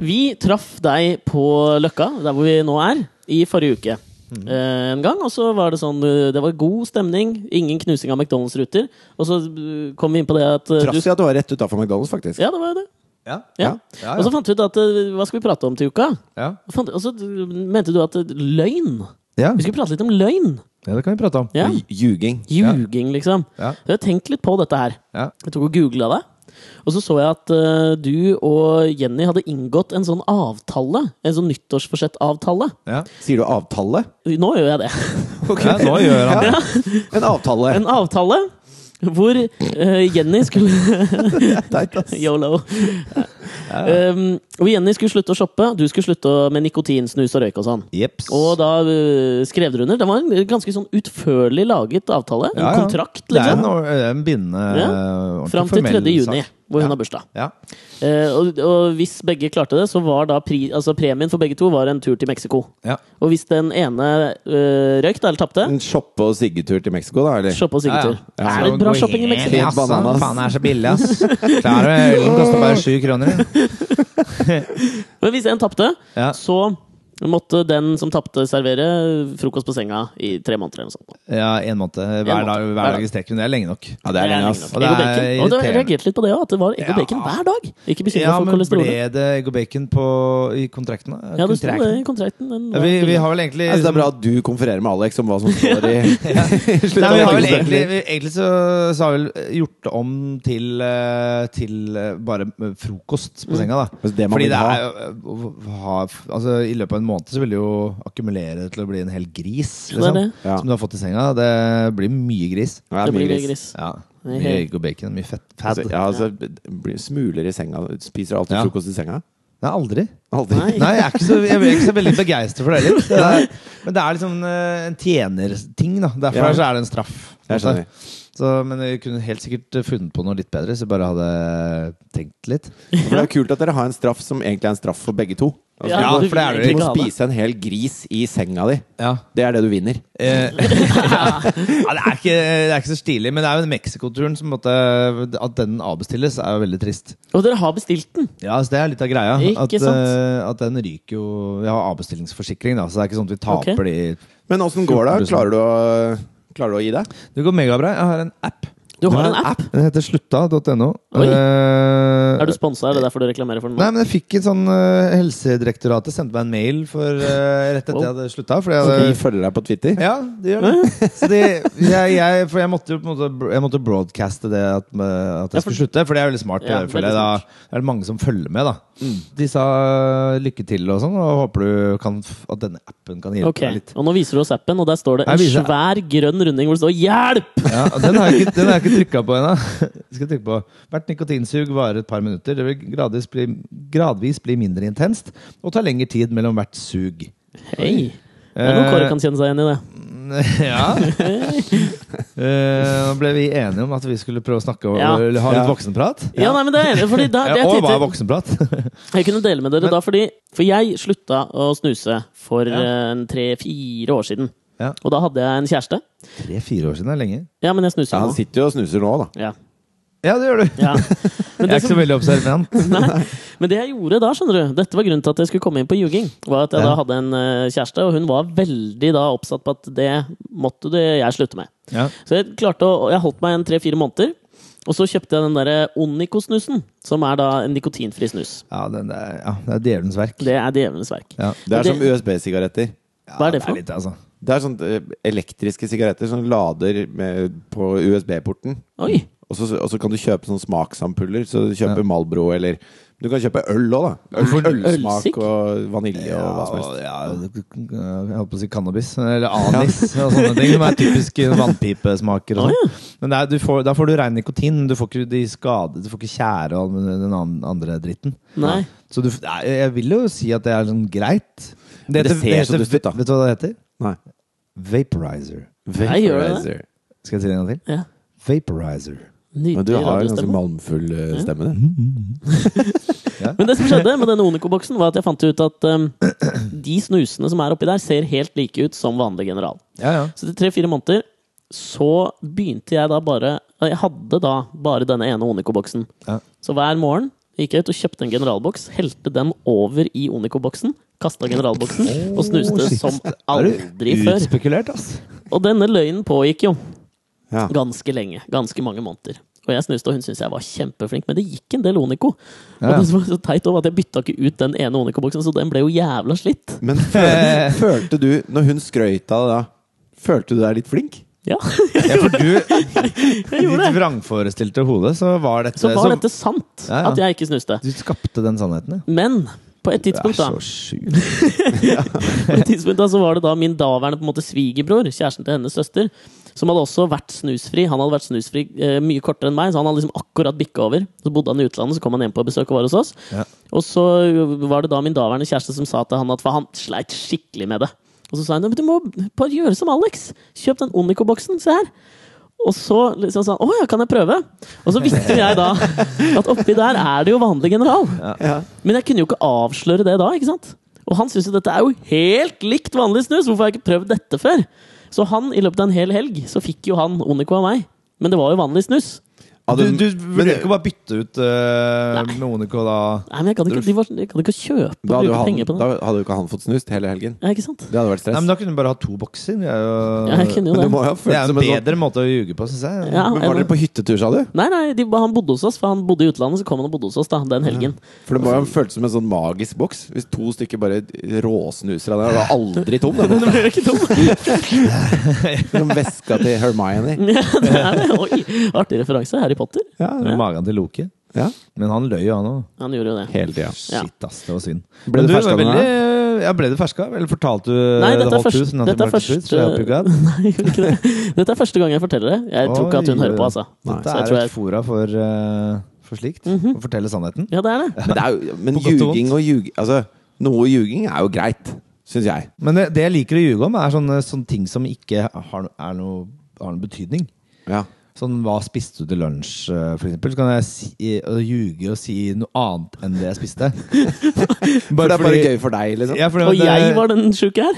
Vi traff deg på Løkka, der hvor vi nå er, i forrige uke. Eh, en gang, og så var det sånn eh, Det var god stemning, ingen knusing av McDonald's-ruter. Og så eh, kom vi inn på det at eh,
Trass i at du var rett utafor McDonald's, faktisk.
Ja, det var jo det.
Ja.
Ja.
Ja, ja.
Og så fant vi ut at eh, Hva skal vi prate om til uka?
Ja.
Og fant- Og så eh, mente du at eh, løgn.
Ja.
Vi skulle prate litt om løgn.
ja, det kan vi prate om.
Ja.
Og Ljuging.
Ljuging, liksom.
Ja.
Jeg har tenkt litt på dette her.
Ja.
Jeg tok og googla det. Og så så jeg at eh, du og Jenny hadde inngått en sånn avtale. En sånn nyttårsforsettavtale.
Ja.
Sier du avtale?
Nå gjør jeg det.
Ja, nå gjør han det.
En avtale.
En avtale hvor eh, Jenny skulle
Teit, ass.
Yolo. Um, hvor Jenny skulle slutte å shoppe, du skulle slutte å- med nikotinsnus og røyk og sånn.
Jeps.
Og da eh, skrev dere under. Det var en ganske sånn utførlig laget avtale. En
Ja, ja.
kontrakt,
Det er en,
liksom.
or- en bindende
Ja.
eh, ordentlig
Fram til
formell
3. juni,
sak.
hvor hun
Ja.
har bursdag.
Ja.
Eh, og, og hvis begge klarte det, så var da pri, altså premien for begge to var en tur til Mexico.
Ja.
Og hvis den ene eh, røyk, da, eller tapte,
En shoppe- og siggetur til Mexico, da, eller?
shoppe og siggetur.
Ja, ja.
Er det
Så
bra
gå
shopping i
helt
Mexico?
i
Fet
assa.
banan, ass.
Faen, det er så billig, ass. Klarer du Ølen koster bare sju kroner. ja.
Men hvis en tapte,
Ja.
så måtte den som tapte, servere frokost på senga i tre måneder. eller noe sånt.
Ja, en måned. Hver,
måned.
dag, hver dag i streken. Det er lenge nok.
Ja, det er den,
lenge
ass.
nok.
Og det
Egg og
er
bacon. Og du
irriterende.
reagerte litt på det òg, at det var egg og
Ja.
bacon hver dag. Ikke bekymra
Ja,
for
men ble
kolesterolet.
det egg og bacon på, i kontrakten? da?
Ja, det sto det
Kontrakten?
i eh, kontrakten. Den
Ja,
var-
vi, vi har vel egentlig
Altså, det er bra at du konfererer med Alex om hva som står i
Nei,
slutten
vi
av
har vel
episoden.
egentlig, vi, egentlig så, så har vi vel eh, gjort det om til, eh, til eh, bare eh, frokost
Mm.
på senga, da.
Altså, det man
Fordi det
vil ha.
er jo eh, å ha, altså, I løpet av en måned så vil det jo akkumulere til å bli en hel gris,
det er
liksom.
det.
Ja.
Som du har fått i senga. Det blir mye gris.
Ja,
Det
mye
blir mye
gris.
gris.
Ja.
Mye
Mye egg og bacon, mye fett. Fad.
Altså, ja, altså, blir- smuler i senga. Spiser alltid
Ja.
frokost i senga.
Nei, aldri.
Aldri.
Nei.
Nei, jeg er ikke så, jeg er ikke så veldig begeistret for det heller. Det er- Men det er liksom eh, en tjenerting, da. Derfor
Ja.
så er det en straff.
Jeg skjønner.
Så, men jeg kunne helt sikkert eh, funnet på noe litt bedre, så jeg bare hadde eh, tenkt litt.
For det er jo kult at dere har en straff som egentlig er en straff for begge to. Altså,
Ja,
du
for det er
vil
det.
Du
egentlig
må
ikke ha det.
spise en hel gris i senga di.
Ja.
Det er det du vinner.
Eh, ja, det, er ikke, det er ikke så stilig, men det er jo den Mexico-turen som måtte, At den avbestilles, er jo veldig trist.
Og dere har bestilt den!
Ja, så Det er litt av greia.
Ikke
at,
sant?
eh, at den ryker jo Vi har avbestillingsforsikring, da, så det er ikke sånn at vi taper
Ok.
de
Men åssen går det? Klarer du å, klarer du å gi deg?
Det går megabra. Jeg har en app.
Du har
Jeg
en app?
Den heter slutta.no.
Oi.
Eh,
Er du sponsa? Er det derfor du reklamerer for den? nå?
Nei, men jeg fikk en sånn eh, Helsedirektoratet sendte meg en mail for, eh, rett etter jeg hadde slutta. Fordi jeg
Vi
hadde,
følger deg på Twitter.
ja, det gjør det. Så de, jeg, jeg, for jeg måtte jo på en måte jeg måtte broadcaste det at, eh,
Ja,
at jeg
for-
skulle slutte. For det er veldig smart.
Ja,
det, føler
veldig
jeg,
smart. Mm.
da er det mange som følger med. da De sa lykke til og sånn, og håper du kan, f- at denne appen kan hjelpe
Ok,
deg litt.
Og nå viser du oss appen, og der står det en
Her viser jeg-
svær grønn runding hvor det står 'hjelp'!
Ja, og den har jeg ikke, den har jeg ikke trykka på ennå. Skal jeg trykke på. Hvert nikotinsug varer et par minutter. Det vil gradvis bli, gradvis bli mindre intenst og ta lengre tid mellom hvert sug. Eh,
Hei! Det er noen Kåre kan kjenne seg igjen i det.
Ja. Eh, Nå ble vi enige om at vi skulle prøve å snakke og,
Ja.
eller ha litt
Ja.
voksenprat.
Ja, nei, men det er jeg enig i, fordi da, det
Ja,
jeg
og hva er
tenkte-
voksenprat?
Jeg kunne dele med dere da, fordi For jeg slutta å snuse for
Ja.
eh, en tre-fire år siden.
Ja.
Og da hadde jeg en kjæreste.
Tre-fire år siden er lenge.
Ja, men jeg snuser
Ja, han
nå.
sitter jo og snuser nå, da.
Ja.
Ja, det gjør du.
Ja. Men,
Jeg
det
er ikke så
som,
veldig observant.
men det jeg gjorde da, skjønner du Dette var grunnen til at jeg skulle komme inn på ljuging. Var at jeg
Ja.
da hadde en eh, kjæreste, og hun var veldig da oppsatt på at det måtte det jeg slutte med.
Ja.
Så jeg klarte å, jeg holdt meg en tre-fire måneder. Og så kjøpte jeg den derre Onico-snusen, som er da en nikotinfri snus.
Ja, den der, ja, det er djevelens verk.
Det er djevelens verk.
Ja.
Det
Men
er som
det-
USB-sigaretter.
Hva er det for noe?
litt, altså.
Det er sånne eh, elektriske sigaretter som lader med, på USB-porten.
Oi!
Og så, og så kan du kjøpe sånne smaksampuller. Så du kjøper Malbro eller Du kan kjøpe øl òg, da. Øl,
ølsikk?
ølsmak og vanilje og hva som helst.
Ja, ja, jeg holdt på å si cannabis, eller anis og sånne ting. Som er typisk vannpipesmaker. Og
Å,
sånn. Men det er, du får, da får du rein nikotin, men du får ikke de skade, du får ikke tjære og all den an- andre dritten.
Nei.
Så du, nei, jeg vil jo si at det er sånn greit.
Men det ser så dust ut, da.
Vet du hva det heter?
Nei.
Vaporizer.
Nei, gjør
det?
Skal jeg si det en gang til?
Ja.
Vaporizer.
Men du
Nydelig
har jo ganske
radiostemme.
malmfull eh, stemme, du.
Men det som skjedde med denne Onico-boksen, var at jeg fant ut at um, de snusene som er oppi der, ser helt like ut som vanlig general.
Ja, ja.
Så etter tre-fire måneder så begynte jeg da bare Jeg hadde da bare denne ene Onico-boksen.
Ja.
Så hver morgen gikk jeg ut og kjøpte en generalboks, helte den over i Onico-boksen, kasta generalboksen og snuste som aldri før.
Utspekulert, ass.
Og denne løgnen pågikk jo
Ja.
ganske lenge. Ganske mange måneder. Og jeg snuste, og hun syntes jeg var kjempeflink, men det gikk en del Onico.
Ja, ja.
Og det som var så teit over at jeg bytta ikke ut den ene Onico-boksen, så den ble jo jævla slitt.
Men føl- følte du, når hun skrøt av det da, følte du deg litt flink?
Ja,
Ja, for du,
jeg
i ditt
gjorde det!
vrangforestilte hode, så var dette
Så var
så-
dette sant,
Ja, ja.
at jeg ikke snuste.
Du skapte den sannheten, ja.
Men på et
Det er
tidspunkt da,
så sjukt.
på et tidspunkt da så var det da min daværende på en måte svigerbror, kjæresten til hennes søster, som hadde også vært snusfri. Han hadde vært snusfri eh, mye kortere enn meg, så han hadde liksom akkurat bikka over. Så bodde han i utlandet, så kom han hjem på besøk og var hos oss.
Ja.
Og så øh, var det da min daværende kjæreste som sa til han at for han sleit skikkelig med det. Og så sa han at du må bare gjøre som Alex. Kjøp den Onico-boksen. Se her. Og så liksom sa han å ja, kan jeg prøve? Og så visste jo jeg da at oppi der er det jo vanlig general. Men jeg kunne jo ikke avsløre det da. ikke sant? Og han syns jo dette er jo helt likt vanlig snus! Hvorfor har jeg ikke prøvd dette før? Så han, i løpet av en hel helg, så fikk jo han Onico av meg. Men det var jo vanlig snus.
Du,
Hadde-
du
men
vurderer ikke å bare bytte ut uh, Onico da?
Nei, men jeg kan ikke, de var, jeg kan ikke kjøpe og
da, hadde jo
bruke
han,
penger på
da
det.
hadde jo ikke han fått snust hele helgen.
Ja, ikke sant?
Det hadde vært
Nei,
stress.
men Da kunne du bare ha to bokser. Det er jo,
Ja, jeg kunne jo
Men
det.
du må jo ha
det er
følt
en
som en sånn
bedre måte å ljuge på, syns jeg.
Ja,
Men
jeg-
Var dere på hyttetur, sa du?
Nei, nei, de, han bodde hos oss, for han bodde i utlandet, så kom han og bodde hos oss da, den helgen.
For det må jo ha føltes som en sånn magisk boks. Hvis to stykker bare råsnuser av den, det var aldri tom.
Men det
Den,
blir jo ikke dum!
den veska til Hermione.
Ja, det er det. Oi, artig referanse. Harry Potter.
Ja,
Eller Magen til Loke.
ja.
Men han løy jo, han òg.
Han gjorde jo det.
Hele tida.
Ja.
Shit, ass. Det var synd.
Ble
Men
du ferska
var
med
veldig- Ja, ble du ferska? Eller fortalte du
Nei,
the
dette er
whole
først-
truth, nothing
dette er
but the truth,
først, eh,
shall I help you God?
Nei, jeg gjorde ikke det. Dette er første gang jeg forteller det. Jeg tror ikke at hun
Oi,
hører på, altså.
Nei.
Så jeg
Dette er
tror jeg- Mhm.
et fora for, eh, for slikt. Å fortelle sannheten.
Ja, det er det.
Men, det er jo, men
På godt og
ljuging og ljug... Altså, noe ljuging er jo greit, syns jeg.
Men det, det jeg liker å ljuge om, er sånne, sånne ting som ikke har, no- er noe, har noen betydning.
Ja.
Sånn, hva spiste du til lunsj, eh, for eksempel? Så kan jeg si, eh, og ljuge og si noe annet enn det jeg spiste.
For det er bare
fordi-
gøy for deg, liksom.
Ja, fordi
Og
det-
jeg var den sjuke her.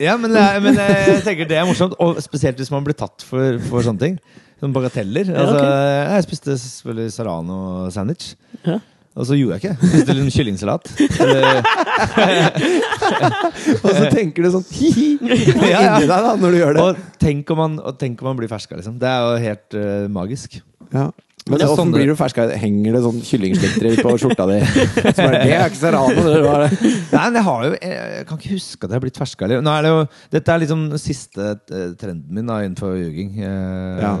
Ja, men, det er- men jeg tenker det er morsomt. Og spesielt hvis man blir tatt for, for sånne ting. Sånne bagateller. Altså, Jeg spiste selvfølgelig Sarano-sandwich.
Ja.
Og så gjorde jeg ikke. Jeg Spiste litt kyllingsalat. Eller-
Og så tenker du sånn hi-hi
Ja, ja.
inni deg da, når du gjør det.
Og tenk om man, og tenk om man blir ferska, liksom. Det er jo helt eh, magisk.
Ja. Men
det er
åssen
sånn
blir
det-
du ferska? Henger det sånn kyllingslekter på skjorta di? Som er, det er ikke serrano, det var det.
Nei, men jeg har jo Jeg, jeg kan ikke huske at jeg har blitt ferska. Eller. Nå er det jo, dette er liksom den siste eh, trenden min da, innenfor ljuging. Eh,
Ja.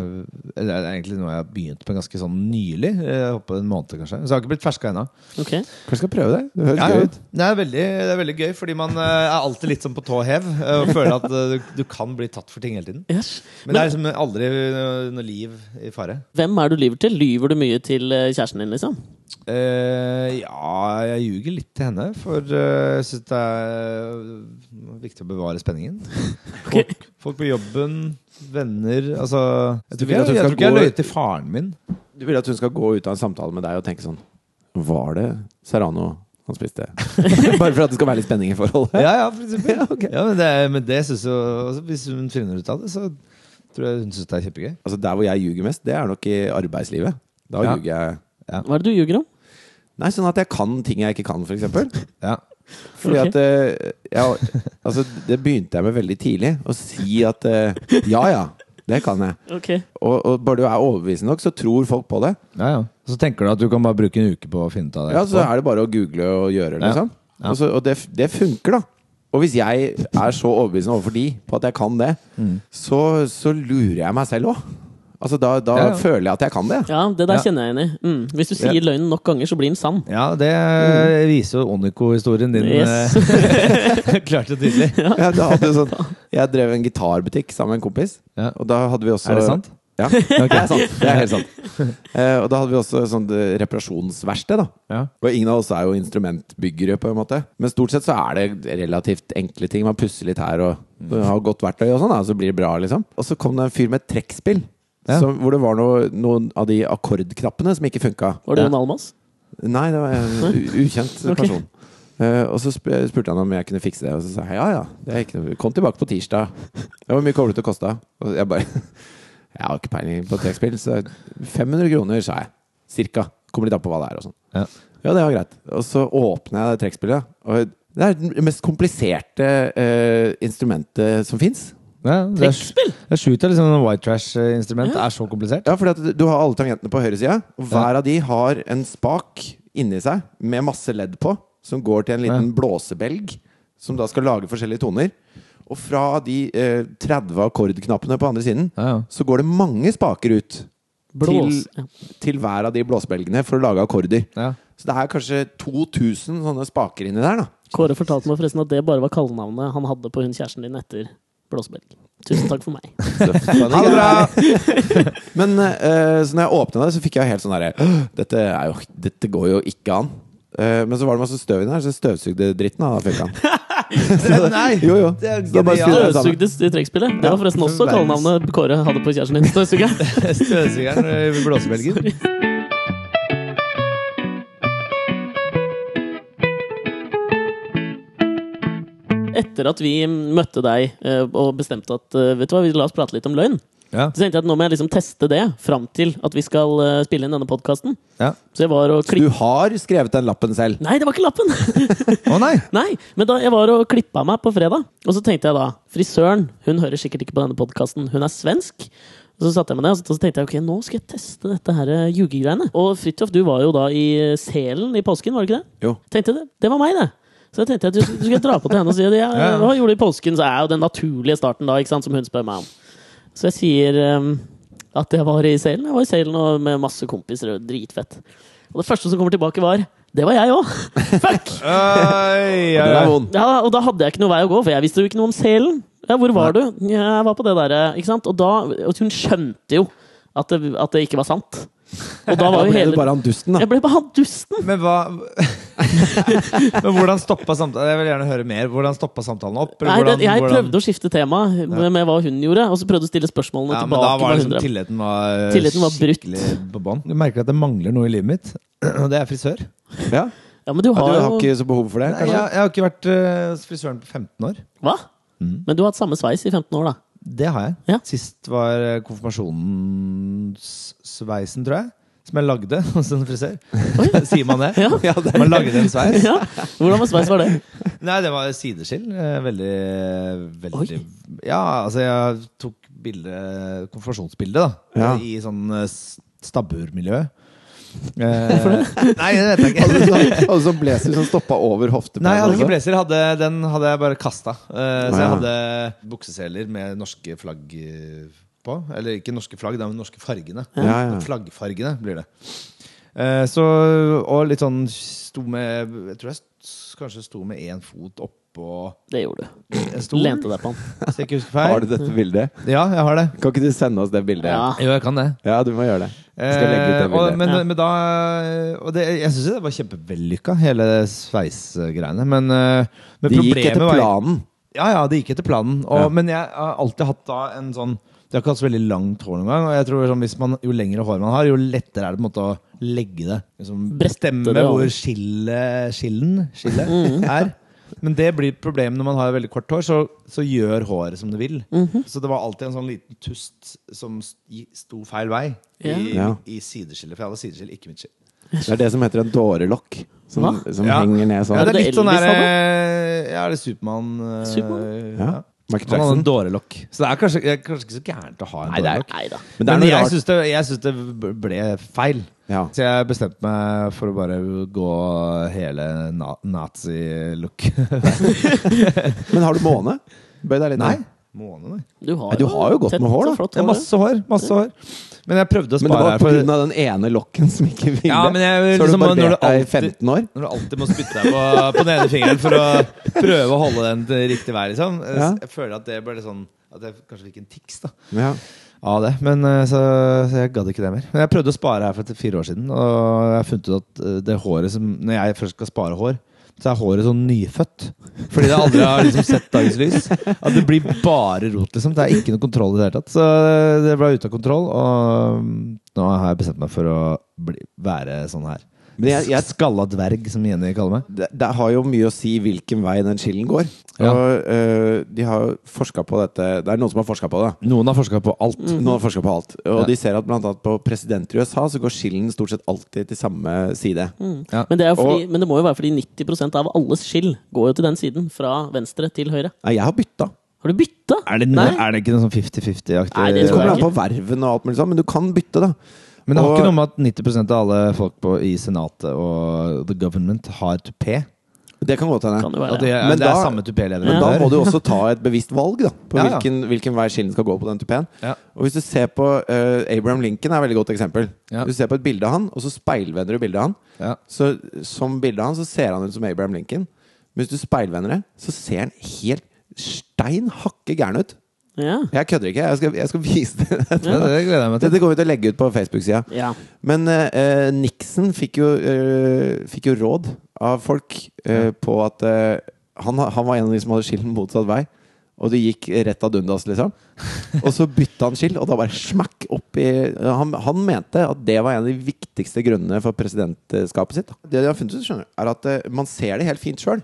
eller Det er egentlig noe jeg har begynt med ganske sånn nylig. Eh, jeg håper en måned, kanskje. Så jeg har ikke blitt ferska ennå.
Ok.
Kanskje skal prøve det? Det høres
Ja,
gøy
ja.
ut.
Det, er veldig, det er veldig gøy, fordi man eh, er alltid litt sånn på tå hev. eh, Og føler at eh, du, du kan bli tatt for ting hele tiden.
Yes.
Men det er liksom aldri eh, noe liv i fare.
Hvem er du lyver til? lyver du mye til eh, kjæresten din, liksom?
Eh, ja, jeg ljuger litt til henne, for eh, jeg syns det er viktig å bevare spenningen. Folk, folk på jobben, venner Altså, jeg tror
vil
ikke jeg,
at
jeg,
hun skal
tror ikke jeg
gå-
løy til faren min.
Du vil at hun skal gå ut av en samtale med deg og tenke sånn Var det Serrano han spiste? Bare for at det skal være litt spenning i forholdet.
Ja, ja, for eksempel. ja, men det, men det synes jo altså, Hvis hun finner ut av det, så tror jeg hun syns det er kjempegøy.
Altså Der hvor jeg ljuger mest, det er nok i arbeidslivet. Da
Ja.
ljuger jeg
Hva er det du ljuger om?
Nei, sånn at jeg kan ting jeg ikke kan, for eksempel.
Ja.
Fordi
Ok.
at eh, jeg, Altså, det begynte jeg med veldig tidlig. Å si at eh, Ja, ja, det kan jeg.
Ok
Og, og bare du er overbevisende nok, så tror folk på det.
Ja, ja. Så tenker du at du kan bare bruke en uke på å finne ut av det.
Ja, så
etterpå.
er det bare å google og gjøre,
Ja.
liksom.
Ja.
Og, så, og det, det funker, da. Og hvis jeg er så overbevisende overfor de på at jeg kan det,
Mm.
så, så lurer jeg meg selv òg. Altså, da, da
Ja, ja.
føler jeg at jeg kan det.
Ja, det der
Ja.
kjenner jeg igjen i. Mm. Hvis du sier
Ja.
løgnen nok ganger, så blir den sann.
ja, det
Mm.
viser jo Onico-historien din
Yes.
eh, klart og tydelig.
Jeg, da hadde jo sånn, jeg drev en gitarbutikk sammen med en kompis,
Ja.
og da hadde vi også
Er det sant?
Ja, det er sant. Det er helt sant. Eh, og da hadde vi også sånn eh, reparasjonsverksted, da.
Ja.
Og ingen av oss er jo instrumentbyggere, på en måte. Men stort sett så er det relativt enkle ting. Man pusser litt her og
Mm.
har godt verktøy og sånn, da, så blir det bra, liksom. Og så kom det en fyr med et trekkspill.
Ja.
som- hvor det var noe, noen av de akkordknappene som ikke funka.
Var det Jon Almaas?
Nei, det var en u- ukjent
Ok.
person. Eh, og så sp spurte han om jeg kunne fikse det, og så sa jeg ja ja. Det er ikke noe. Kom tilbake på tirsdag. Det var mye koblet og kosta. Og jeg bare Jeg har ikke peiling på trekkspill, så 500 kroner, sa jeg. Cirka. Kommer litt an på hva det er og sånn.
Ja.
Ja, det var greit. Og så åpner jeg det trekkspillet, og det er det mest kompliserte eh, instrumentet som fins.
Ja, det er-
Trekkspill!
Jeg skjuter liksom en white trash-instrument. Det er så komplisert.
Ja, fordi at du har alle tangentene på høyre side. Og hver av de har en spak inni seg med masse ledd på, som går til en liten blåsebelg, som da skal lage forskjellige toner. Og fra de eh, 30 akkordknappene på andre siden,
Ja, ja.
så går det mange spaker ut
Blås. Ja.
til, til hver av de blåsebelgene for å lage akkorder.
Ja.
Så det er kanskje 2000 sånne spaker inni der, da.
Kåre fortalte meg forresten at det bare var kallenavnet han hadde på hun kjæresten din etter Blåsebelg. Tusen takk for meg.
Ha det bra! Men eh, så når jeg åpna det, så fikk jeg helt sånn herre dette, er jo- dette går jo ikke an. Eh, men så var det masse støv inni her, så jeg støvsugde dritten av den.
Nei!
Jo, jo.
Det er
Da bare
genialt.
styrer det sammen.
Støvsugdes i trekkspillet. Det var forresten også
verdens-
kallenavnet Kåre hadde på kjæresten din. Støvsugeren.
Støvsugeren eh, i blåsebelgen.
Etter at vi møtte deg eh, og bestemte at eh, vet du hva, vi la oss prate litt om løgn,
Ja.
så tenkte jeg at nå må jeg liksom teste det fram til at vi skal eh, spille inn denne podkasten.
Ja.
Så jeg var og
Du
klipp...
har skrevet den lappen selv.
Nei, det var ikke lappen!
Å nei!
Nei, men da jeg var og klippa meg på fredag, og så tenkte jeg da Frisøren hun hører sikkert ikke på denne podkasten, hun er svensk. Og så satte jeg meg ned og så tenkte jeg, ok, nå skal jeg teste dette her eh, ljugegreiene. Og Fridtjof, du var jo da i eh, Selen i påsken, var det ikke det?
Jo.
Tenkte det, det var meg, det. Så jeg tenkte at du, du skal dra på til henne og si at jeg,
Ja.
hva gjorde du i påsken? Så er jo den naturlige starten da, ikke sant, som hun spør meg om. Så jeg sier ehm, at jeg var i Selen. Jeg var i Selen og med masse kompiser og dritfett. Og det første som kommer tilbake, var det var jeg òg! Fuck!
Oi,
Den er vond.
Ja, og da hadde jeg ikke noe vei å gå, for jeg visste jo ikke noe om selen. Ja, hvor var du? Ja, jeg var på det derre, ikke sant? Og da og hun skjønte jo at det, at det ikke var sant. Og da
Da
var jo
ble du
hele
bare han dusten, da.
Jeg ble bare han dusten!
Men hva Men hvordan stoppa samtalen? Jeg vil gjerne høre mer. Hvordan stoppa samtalen opp?
Nei, det, jeg prøvde
å
å skifte tema med, med hva hun gjorde, og så prøvde å stille spørsmålene
ja, men da
tilbake. hva
var det
hun
liksom
drev-
tilliten var,
Tilliten var brutt.
skikkelig på bånn. Du merker at det mangler noe i livet mitt, og det er frisør.
Ja.
ja, men du
Ja,
har
Du har
jo
ikke så behov for det?
Nei, jeg,
kanskje?
jeg har ikke vært eh, hos frisøren på 15 år.
Hva?
Mm.
Men du har hatt samme sveis i 15 år, da.
Det har jeg.
Ja.
Sist var eh, konfirmasjonssveisen, tror jeg. Som jeg lagde hos en frisør. Sier man det?
Ja.
Man lagde en sveis?
Ja. Hvordan var sveis var det?
Nei, det var sideskill. eh, Veldig, veldig
Oi.
Ja, altså, jeg tok bilde, konfirmasjonsbilde, da.
Ja.
I sånn eh, s- stabburmiljø. Hvorfor det? Nei, det vet jeg ikke.
Hadde du sånn, hadde du sånn blazer som stoppa over hofteplanen?
Nei, jeg hadde ikke
også?
blazer. jeg Hadde, den hadde jeg bare kasta. så jeg
ja.
hadde bukseseler med norske flagg eh, på. Eller ikke norske flagg, det er de norske fargene.
Ja, ja.
Flaggfargene blir det. Eh, så, og litt sånn sto med Jeg tror jeg s- kanskje sto med én fot oppå
Det gjorde du.
en stol.
Lente deg på han.
Hvis jeg ikke husker feil.
Har du dette bildet?
Ja, jeg har det.
Kan ikke du sende oss det bildet?
Ja.
Jo, jeg kan det.
Ja, du må gjøre det. Jeg skal legge ut det
Eh, og,
bildet.
men,
Ja.
men da Og det, jeg syns det var kjempevellykka, hele sveisgreiene. Men, eh, men
De gikk etter
var-
planen.
Ja, ja, det gikk etter planen. Og,
Ja.
Men jeg har alltid hatt da en sånn Jeg har ikke hatt så veldig langt hår noen gang. Og jeg tror sånn, hvis man, Jo lengre hår man har, jo lettere er det på en måte å legge det. Liksom,
Brette det
bestemme
over.
hvor skillet skillen, skillet er. Men det blir et problem når man har veldig kort hår, så, så gjør håret som det vil. Så det var alltid en sånn liten tust som s- i- sto feil vei
Ja.
i,
Ja.
i sideskillet. For jeg hadde sideskill, ikke midtskill.
Det er det som heter en dårelokk. Som,
Hva?
som
Ja.
henger ned sånn.
Ja, det er
Det
litt sånn
Elvis
der
hadde.
eh, Ja, er det Supermann? eh,
Superman?
Ja. Michael
Han hadde
Jackson.
en dårelokk. Så det er kanskje, det er kanskje ikke så gærent å ha en
Nei, det er-
dårelokk.
Nei da.
Men det er
Men
noe
jeg
rart.
syns det, jeg syns det ble feil.
Ja.
Så jeg bestemte meg for å bare gå hele na nazi-look.
Men har du måne? Bøy deg litt
Nei.
ned.
Måne, nei.
Du har,
Nei, du har jo godt
tett
med hår, da.
og flott
Det er
hår,
masse hår. masse hår Men jeg prøvde å
Men det
spare
var
her.
på
For
grunn av den ene lokken som ikke ville.
Ja, men jeg-
så har du
liksom, når
barbert
du
deg i
alltid-
15 år.
når du alltid må spytte deg på, på den ene fingeren for å prøve å holde den til riktig vei, liksom. Eh,
Ja.
Jeg føler at det ble litt sånn At jeg kanskje fikk en tics da
Ja.
av det. Men eh, så, så jeg gadd ikke det mer. Men jeg prøvde å spare her for til fire år siden, og jeg har funnet ut at eh, det håret som Når jeg først skal spare hår, så er håret sånn nyfødt. Fordi det aldri har liksom sett dagens lys. At det blir bare rot, liksom. Det er ikke noe kontroll i det hele tatt. Så eh, det ble ute av kontroll, og mm, nå har jeg bestemt meg for å bli, være sånn her.
Men jeg- jeg-
Skalla dverg, som Jenny kaller meg.
det, det har jo mye å si hvilken vei den skillen går.
Ja.
Og eh, de har jo forska på dette Det er noen som har forska på det.
Noen har forska på alt.
Noen har forsket på alt. Og
Ja.
de ser at blant annet på presidenter i USA så går skillen stort sett alltid til samme side.
Ja.
Men det, er jo fordi,
Og-
men det må jo være fordi 90 av alles skill går jo til den siden. Fra venstre til høyre.
Nei, jeg har bytta.
Har du bytta?
Er det,
Nei.
er det ikke noe sånn 50-50-aktig?
Nei,
Det
det
kommer
er
an på verven og alt mulig sånn, men du kan bytte, da.
Men det har
Og-
ikke noe med at 90 av alle folk på, i Senatet og the government har tupé.
Det kan godt hende.
Kan jo være.
At det,
Men
er- det
da-
er samme tupé-leverandør.
Men da må du også ta et bevisst valg da på
Ja, ja.
Hvilken, hvilken vei skillen skal gå på den tupeen.
Ja.
Og hvis du ser på eh, Abraham Lincoln er et veldig godt eksempel.
Ja.
Hvis du ser på et bilde av han, og så speilvender du bildet av han,
Ja.
så som bildet av han så ser han ut som Abraham Lincoln. Men hvis du speilvender det, så ser han helt stein hakke gæren ut.
Ja.
Jeg kødder ikke. Jeg skal, jeg skal vise det.
Ja, det gleder jeg meg til.
Dette går vi til å legge ut på Facebook-sida.
ja.
Men eh, eh, Nixon fikk jo, eh, fikk jo råd av folk eh, på at eh, han, han var en av de som hadde skillen motsatt vei. Og det gikk rett ad undas, liksom. Og så bytta han skill, og da bare smakk opp i han, han mente at det var en av de viktigste grunnene for presidentskapet sitt. da. Det de har funnet ut, skjønner du, er at eh, man ser det helt fint sjøl,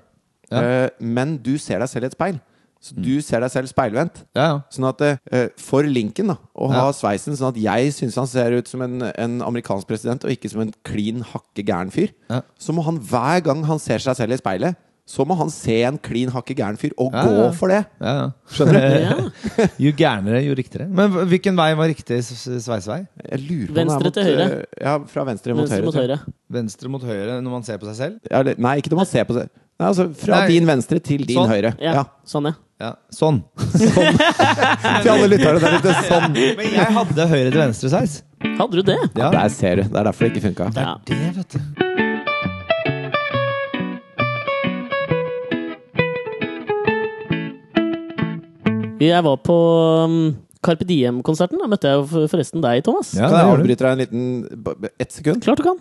Ja.
men du ser deg selv i et speil. Så du ser deg selv speilvendt.
Ja, ja.
Sånn at eh, For Lincoln, da, å ha
Ja.
sveisen sånn at jeg syns han ser ut som en, en amerikansk president, og ikke som en klin hakke gæren fyr,
Ja.
så må han hver gang han ser seg selv i speilet, så må han se en klin hakke gæren fyr, og
Ja,
gå
ja.
for det.
Ja, ja. Eh,
ja.
Jo gærnere, jo riktigere. Men hv- hvilken vei var riktig s- s- sveisvei?
Jeg lurer på om det er
Venstre
mot,
til høyre.
eh, Ja, fra venstre mot
Venstre
høyre.
mot
tror jeg.
høyre.
Venstre mot høyre når man ser på seg selv?
Ja, eller- nei, ikke når man ser på seg. Nei, altså, fra
Nei.
din venstre til din
Sånn.
høyre.
Ja.
Ja.
Sånn, ja.
Ja, Sånn.
Til alle lytterne der ute. Sånn.
Men jeg hadde høyre til venstre sveis.
Hadde du det?
Ja.
Der ser du. Det er derfor det ikke funka.
Ja.
Det, vet du.
Jeg var på um, Carpe Diem-konserten. Da møtte jeg jo for- forresten deg, Thomas.
Ja,
Kan jeg
det gjør du.
avbryte deg en liten b- ett sekund?
Klart du kan.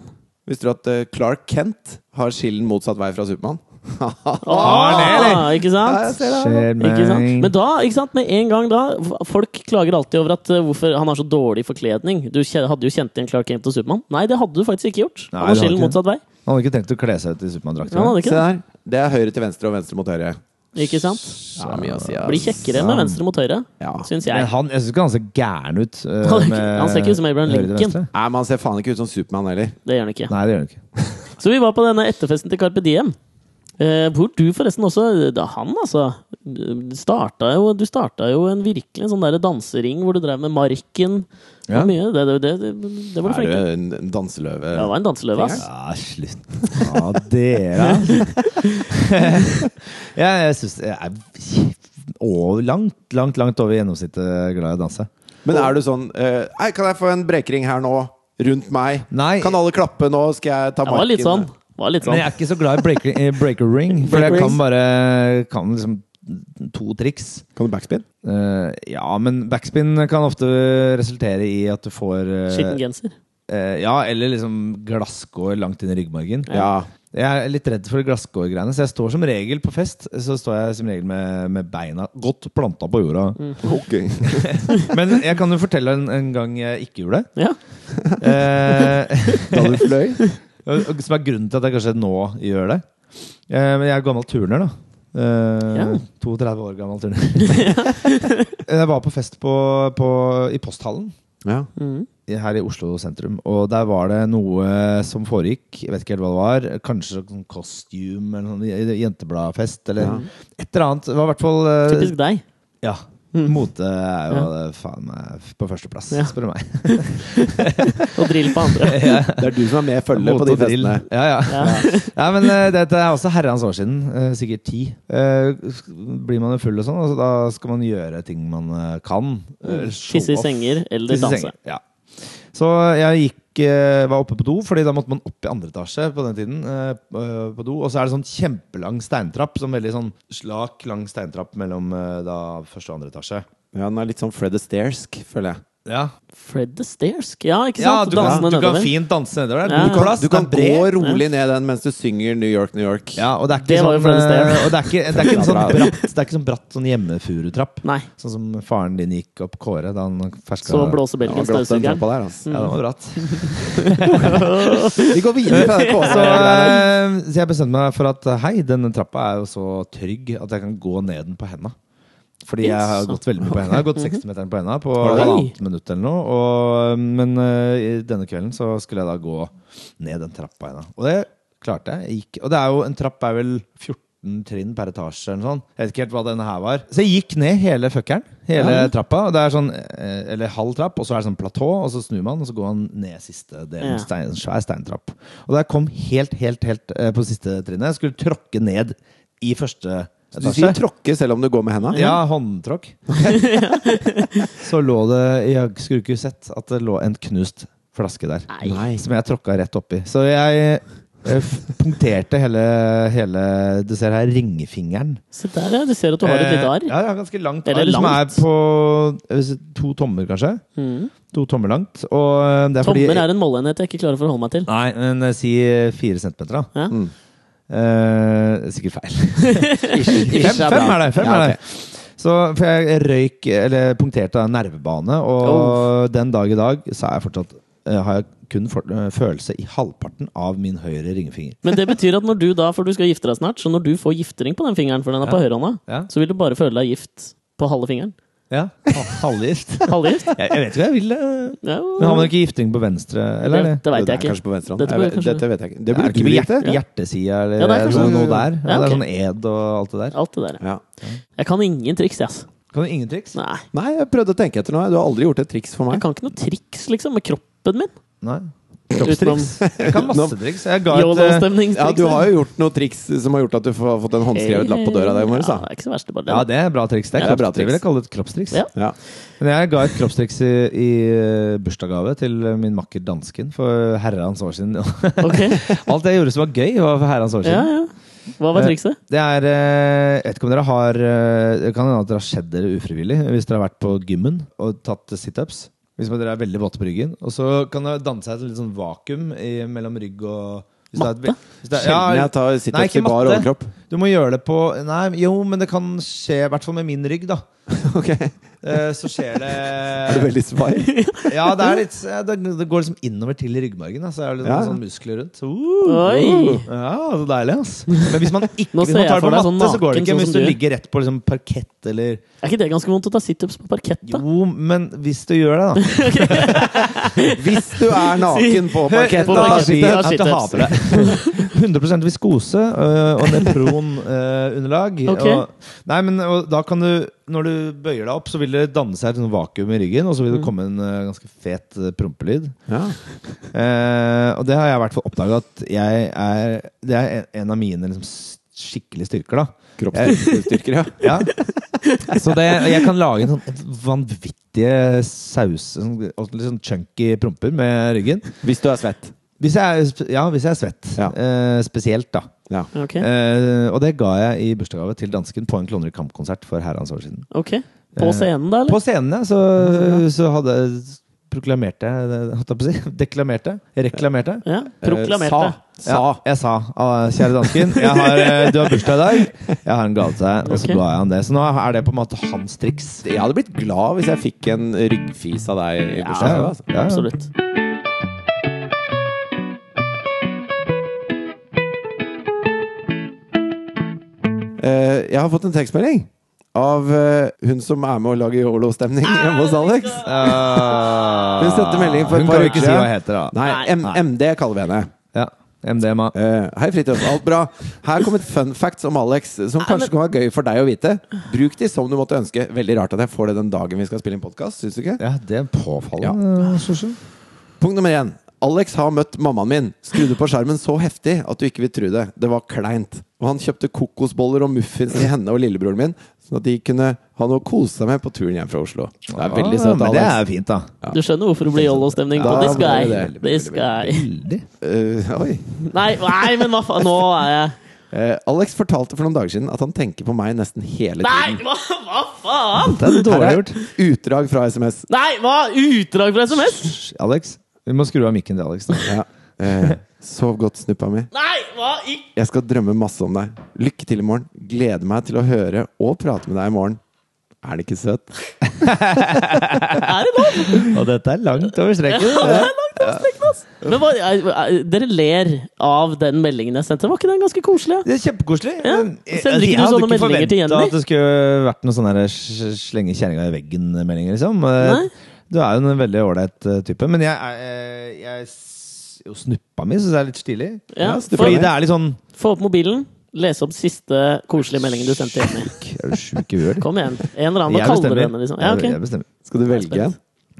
Visste du at eh, Clark Kent har skillen motsatt vei fra Supermann?
Ah, ikke sant?
Skjer
Ikke sant?
meg.
Men da, ikke sant, med en gang da f- Folk klager alltid over at eh, hvorfor han har så dårlig forkledning. Du kje- hadde jo kjent igjen Clark Kent og Supermann. Nei, det hadde du faktisk ikke gjort.
Nei,
Han har
det har
skillen
ikke det.
motsatt vei.
Han hadde ikke tenkt å kle seg ut i Supermann-drakt.
Han hadde
Se
ikke det.
der. Det er høyre til venstre og venstre mot høyre.
Ikke sant?
Ja, mye å si, ass.
Blir kjekkere med venstre mot høyre,
Ja.
syns
Men
jeg.
han, jeg syns ikke han ser gæren ut. eh,
Han er ikke-
med
han ser ikke ut som Abraham
høyre til
Lincoln.
venstre.
Nei, Man ser faen ikke ut som Supermann heller.
Det gjør han ikke.
Nei, det gjør han ikke.
Så vi var på denne etterfesten til Carpe Diem. Eh, hvor du forresten også da Han, altså. Du starta jo, du starta jo en virkelig en sånn der dansering hvor du drev med marken. Det var
Ja.
Mye. Det, det, det, det, det var du
Er
flink
du
til.
en en danseløve?
Ja, Det var en danseløve, ass.
Ja, slutt. Ja, dere ja, Jeg syns jeg er over, langt, langt langt over gjennomsnittet glad i å danse.
Men er du sånn eh, Hei, kan jeg få en brekering her nå? rundt meg.
Nei.
Kan alle klappe nå, skal jeg ta
Det var litt sånn. Det var litt
Men
sånn.
jeg er ikke så glad i breaker, eh, breaker ring, for jeg
Breaker
kan
rings.
bare kan liksom to triks.
Kan du backspin?
Eh, ja, men backspin kan ofte resultere i at du får eh,
Skitten genser.
eh, Ja, eller liksom glasskår langt inn i ryggmargen.
Ja.
Jeg er litt redd for glasskårgreiene, så jeg står som regel på fest Så står jeg som regel med, med beina godt planta på jorda.
Ok.
Men jeg kan jo fortelle en, en gang jeg ikke gjorde det.
Ja.
Eh,
Da du fløy?
og- og som er grunnen til at jeg kanskje nå gjør det. Eh, men jeg er gammel turner, da. Eh,
Ja.
32 år gammel turner. jeg var på fest på, på, i Posthallen.
Ja.
Mm.
i- her i Oslo sentrum. Og der var det noe som foregikk, jeg vet ikke helt hva det var. Kanskje sånn costume eller noe jentebladfest eller
Ja.
et eller annet. Det var i hvert fall eh,
Typisk deg.
Ja. Mote er jo eh, faen meg på førsteplass,
Ja.
spør du meg.
Og drill på andre.
Det er du som er med i følget
Mote
på de
og drill.
festene.
Ja, ja.
Ja.
Nei, men eh, dette er også herrens år siden. eh, sikkert ti. Eh, blir man jo full og sånn, altså, da skal man gjøre ting man eh, kan. Eh, show
Mm. Tisse i
off.
senger eller
Tisse i
danse.
senger, Ja. Så jeg gikk, eh, var oppe på do, Fordi da måtte man opp i andre etasje på den tiden. eh, eh, på do Og så er det sånn kjempelang steintrapp. Sånn veldig sånn slak, lang steintrapp mellom eh, da første og andre etasje.
Ja, den er litt sånn Fred Astairesk, føler jeg.
Ja,
Fred the Stairs. Ja, ikke
ja
sant?
du, kan,
Dansende
du kan
nedover.
fint danse nedover der.
Ja.
God
Du kan-
plass,
Du kan
den er bred.
gå rolig ned den mens du synger New York, New York.
Ja, og det er ikke
Det var jo
sånn,
Fred Astaire.
eh, og det er ikke, det er ikke en sånn
Bra.
bratt, det er ikke sånn bratt sånn hjemmefurutrapp.
Nei.
Sånn som faren din gikk opp Kåre da han ferska
Så
Det var
blåsebelgen,
glatt den
støvsugeren.
trappa der, altså.
Ja, det var bratt.
Vi går videre fra den
Så,
kåsa.
eh, så jeg bestemte meg for at eh, hei, denne trappa er jo så trygg at jeg kan gå ned den på henda. Fordi jeg har
Yes.
gått veldig mye på henda. Jeg har gått
Mhm.
60-meteren på henda på
Har du det?
halvannet minutt eller noe. Og, men eh, i denne kvelden så skulle jeg da gå ned den trappa på henda. Og det klarte jeg. jeg. Gikk, og det er jo en trapp er vel 14 trinn per etasje eller noe sånt. Jeg vet ikke helt hva denne her var. Så jeg gikk ned hele fuckeren. Hele
Ja.
trappa. Og det er sånn, eh, eller halv trapp, og så er det sånn platå, og så snur man, og så går man ned siste delen
Ja.
en stein, en svær steintrapp. Og da jeg kom helt, helt, helt eh, på siste trinnet, jeg skulle tråkke ned i første
Du sier
etasje.
tråkke selv om du går med henda?
Ja, håndtråkk. så lå det Jeg skulle ikke sett at det lå en knust flaske der.
Nei.
Som jeg tråkka rett oppi. Så jeg eh, f- punkterte hele, hele Du ser her ringfingeren.
Se der, ja. Du ser at du har et lite
Eh,
arr.
Ja, jeg har ganske langt
Eller
arr, som er
langt.
på eh, to tommer, kanskje.
Mm.
To tommer langt. Og eh, det er fordi
Tommer er en måleenhet jeg ikke klarer å forholde meg til.
Nei, men eh, si eh, fire centimeter, da.
Ja.
Mm.
Eh, sikkert feil.
Ish
Fem, fem er det. Fem er
Ja, ok.
det. Så for jeg røyk, eller punkterte en nervebane, og
Oh.
den dag i dag så er jeg fortsatt eh, har jeg kun for, eh, følelse i halvparten av min høyre ringefinger.
Men det betyr at når du da, for du skal gifte deg snart, så når du får giftering på den fingeren, for den er på
Ja.
høyrehånda,
Ja.
så vil du bare føle deg gift på halve fingeren.
Ja, ha- Halvgift.
Halvgift?
Jeg, jeg vet ikke hva jeg vil. eh.
Ja,
Men har man ikke gifting på venstre? Eller? er
det,
det-
det veit
Det er
jeg ikke.
Kanskje på venstre hånd.
Dette
Jeg
burde
vet-
kanskje-
Dette vet jeg ikke. Det
Er
burde
det ikke
du
på
vite.
hjerte, hjertesida eller
Ja, det er kanskje-
noe, noe der?
Ja,
Det er
ok.
sånn ed og alt det der.
Alt det der. ja.
Ja.
Jeg kan ingen triks, jeg, ass.
Kan du ingen triks?
Nei.
Nei, jeg prøvde å tenke etter noe. Du har aldri gjort et triks for
Jeg
meg.
kan ikke noe triks, liksom, med kroppen min.
Nei. Kroppstriks? Jeg kan masse triks. Jeg ga et eh,
Ja,
Yolo-stemningstriks.
du har jo gjort noe triks som har gjort at du har fått en håndskrevet lapp på døra der i morges,
Ja,
da.
det er ikke så verst, det er bare
Ja,
det.
det er bra triks. Det, er
Ja, det er bra
kroppstriks. Jeg
triks.
vil kalle det et kroppstriks.
Ja.
Ja.
Men jeg ga et kroppstriks i, i eh, bursdagsgave til min makker dansken for herrens år siden.
Ok.
Alt jeg gjorde som var gøy, var for herrens
Ja,
år siden.
ja. Hva var trikset?
Det er eh, Jeg vet ikke om dere har eh, Det kan hende at dere har skjedd dere ufrivillig hvis dere har vært på gymmen og tatt situps. Hvis dere er veldig våte på ryggen. Og så kan dere danse et litt sånn vakuum i, mellom rygg og hvis det er et ve-
Matte?
hvis det er- ja,
Sjelden jeg tar
Nei,
situps
ikke
i bar
matte.
overkropp.
Du må gjøre det på Nei, jo, men det kan skje, i hvert fall med min rygg, da.
Ok,
Eh, Så skjer det
Er du veldig svai?
Ja, det, er litt, ja, det det går liksom innover til ryggmargen. da, Så er det litt
Ja.
sånn muskler rundt. Så, uh,
Oi.
Ja, så deilig, ass. Men hvis man ikke
Nå
hvis
ser
man
jeg
tar det
for
på
deg
matte,
sånn
så går
naken,
det ikke.
sånn som
Men hvis du
du gjør.
ligger rett på liksom parkett eller
Er ikke det ganske vondt å ta situps på parkett, da?
Jo, men hvis du gjør det, da.
Hvis du er naken på parkett
på
og
da
tar
parkett.
si
situps
situps.
at du hater det. 100 viskose øh, og nepron-underlag.
Ok.
nei, men og da kan du Når du bøyer deg opp, så vil det danne seg et sånt vakuum i ryggen, og så vil det komme en øh, ganske fet øh, prompelyd.
ja.
Eh, og det har jeg i hvert fall oppdaga at jeg er Det er en- en av mine liksom, s- skikkelig styrker, da.
Kroppsstyrker, ja.
Ja. Så det, jeg kan lage en sånn vanvittige saus, sånn, litt sånn chunky promper med ryggen.
Hvis du er svett.
Hvis jeg, er sp- ja, hvis jeg er svett.
Ja.
Eh, spesielt, da.
Ja.
Ok,
Eh, og det ga jeg i bursdagsgave til dansken på en Klovner i Kamp-konsert for herrens år siden.
ok. På scenen, da, eller?
På scenen, ja, så, så hadde proklamerte jeg holdt jeg på å si, Deklamerte? Reklamerte?
Ja, proklamerte.
Eh, Sa.
Ja, jeg sa «Ah, kjære dansken, jeg har, eh, du har bursdag i dag. Jeg har en gave til deg. Og så
Ok.
ga jeg han det. Så nå er det på en måte hans triks.
Jeg hadde blitt glad hvis jeg fikk en ryggfis av deg i bursdagsgave. Altså.
Ja, ja.
Absolutt.
Eh, jeg har fått en tekstmelding av eh, hun som er med å lage yolo-stemning hjemme hos Alex.
Ah.
Hun sendte melding for et
Hun
par
kan jo
uker
ikke si hva
siden.
heter, da.
Nei, M MD kaller vi henne.
Ja. MDMA.
Eh, hei, Fridtjof. Alt bra? Her kom et fun facts om Alex som kanskje kan være gøy for deg å vite. Bruk de som du måtte ønske. Veldig rart at jeg får det den dagen vi skal spille inn podkast, syns du ikke?
Ja, det er påfallende. Sorsen.
Punkt nummer én. Alex har møtt mammaen min. Skrudde på skjermen så heftig at du ikke vil tro det. Det var kleint. Og han kjøpte kokosboller og muffins til henne og lillebroren min, sånn at de kunne ha noe å kose seg med på turen hjem fra Oslo. Det er veldig
Ah,
søtt,
men
Alex.
det er fint, da.
Du skjønner hvorfor det blir yolo-stemning på
Ja,
This
det er
Guy.
det.
This Guy.
Veldig.
Eh, oi.
Nei, nei, men hva faen? Nå er jeg
Eh, Alex fortalte for noen dager siden at han tenker på meg nesten hele
Nei,
tiden.
hva, hva faen?
Det er
Her
dårlig
er
gjort.
utdrag fra SMS.
Nei, hva? Utdrag fra SMS?
Alex, vi må skru av mikken til Alex. Da.
Ja. Eh, sov godt, snuppa mi.
Nei, hva i
Jeg skal drømme masse om deg. Lykke til i morgen. Gleder meg til å høre og prate med deg i morgen. Er det ikke søtt?
Er det lov?
Og dette er langt over streken.
Men hva, er, er, dere ler av den meldingen jeg sendte. Var ikke den ganske koselig? Ja?
Det er kjempekoselig.
Ja,
men jeg-
sender ikke
jeg
du
hadde
sånne meldinger til
forventet
Jenny?
At det skulle vært noen sånne her sl- slenge kjerringa i veggen-meldinger, liksom.
Nei.
Du er jo en veldig ålreit eh, type. Men jeg, er- eh, jeg s- jo, snuppa mi syns jeg er litt stilig.
Ja,
Ja,
Fordi
få,
det er litt sånn
få opp mobilen, lese opp siste koselige meldingen du sendte hjemme.
K- Er du sjuk i huet? eller?
Kom igjen. En eller annen må
Jeg
kalle det
bestemmer.
henne, liksom. Ja,
Jeg-
ok.
jeg bestemmer.
Skal du velge en?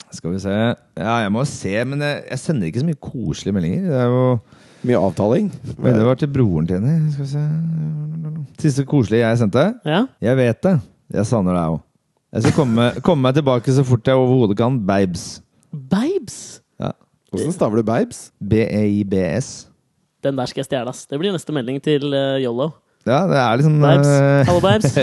Skal vi se Ja, jeg må se, men jeg, jeg sender ikke så mye koselige meldinger. Det er jo
Mye avtaling?
Oi, Det var til broren til henne. Skal vi se Siste koselige jeg sendte.
Ja.
Jeg vet det. Jeg savner deg òg. Jeg skal komme, komme meg tilbake så fort jeg overhodet kan. Babes.
Babes!
Ja.
Hvordan staver du babes?
E B-e-i-b-s.
Den der skal jeg stjele, ass. Det blir neste melding til eh, Yolo.
Ja, det er liksom
Babes.
eh,
Hallo, Babes.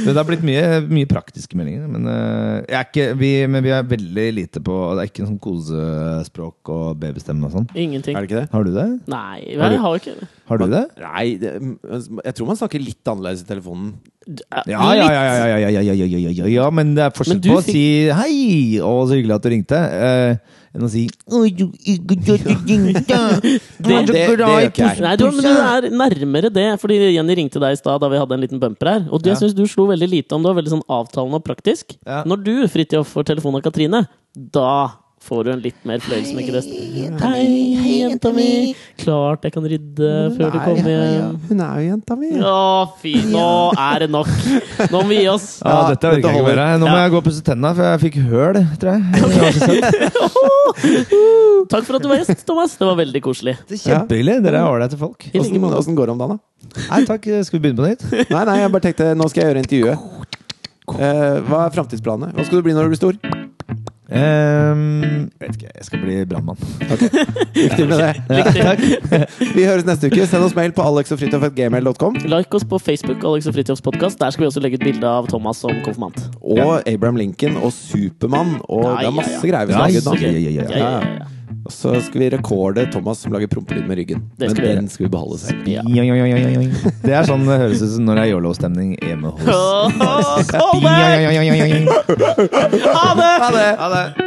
Men det har blitt mye, mye praktiske meldinger. Men, eh, jeg er ikke, vi, men vi er veldig lite på Det er ikke noe sånn kosespråk og babystemme og sånn.
Ingenting.
Er det ikke det?
Har du det?
Nei,
Har du-
jeg har ikke
Har du det?
Nei, det, mm, jeg tror man snakker litt annerledes i telefonen.
Ja, ja, ja, ja, ja, ja, ja, ja, ja, ja, ja, ja, ja men det er forskjell
Men du
på å
fikk-
si hei og så hyggelig at du ringte, eh, enn å si «Oi, du ikke at du ringte. Du er
Det- det-
så
det
glad i
gjør ikke jeg.
pus-
Nei, du, men du er nærmere det, fordi Jenny ringte deg i stad da vi hadde en liten bumper her. Og det
Ja.
synes du slo veldig lite om. Du var veldig sånn avtalende og praktisk.
Ja.
Når du, Fridtjof, får telefon av Katrine, da får du en litt mer fløyelsmekket røst. Hei, hei, jenta mi! Klart jeg kan rydde før du kommer hjem.
Hun er jo jenta mi.
Å, fy, nå er det nok! Nå må vi gi oss.
Ja, dette
dette
orker jeg ikke
holder.
mer. Nå må
Ja.
jeg gå og pusse tenna, for jeg fikk høl, tror jeg. Det var så søtt.
Takk for at du var gjest, Thomas. Det var veldig koselig.
Det er Kjempehyggelig. Dere er ålreite folk.
I like
Åssen
måte.
åssen går det om dagen, da?
Nei, takk. Skal vi begynne på nytt?
Nei, nei, jeg bare tenkte nå skal jeg gjøre intervjuet. Eh, hva er framtidsplanene? Hva skal du bli når du blir stor?
Ehm, jeg vet ikke. Jeg skal bli brannmann.
Lykke til med det.
Lykke til.
Vi høres neste uke. Send oss mail på alexogfritjof.gmail.com.
Like oss på Facebook, Alex og Fridtjofs podkast. Der skal vi også legge ut bilde av Thomas som konfirmant.
Og Abraham Lincoln og Supermann og
Ja,
det er
ja,
masse
ja.
greier vi
Ja,
skal
så
lage
gøy.
ut nå.
Ja, ja, ja, ja.
Og så skal vi rekorde Thomas som lager prompelyd med ryggen.
Det
Men
skal vi gjøre.
den skal vi beholde selv.
Ja.
Yoing, yoing, yoing, yoing, yoing. Det er sånn det høres ut som når det er yolo-stemning hjemme hos
Åh,
Yoing,
Callback!
yoing, yoing, yoing, yoing.
Ha det!
Ha det!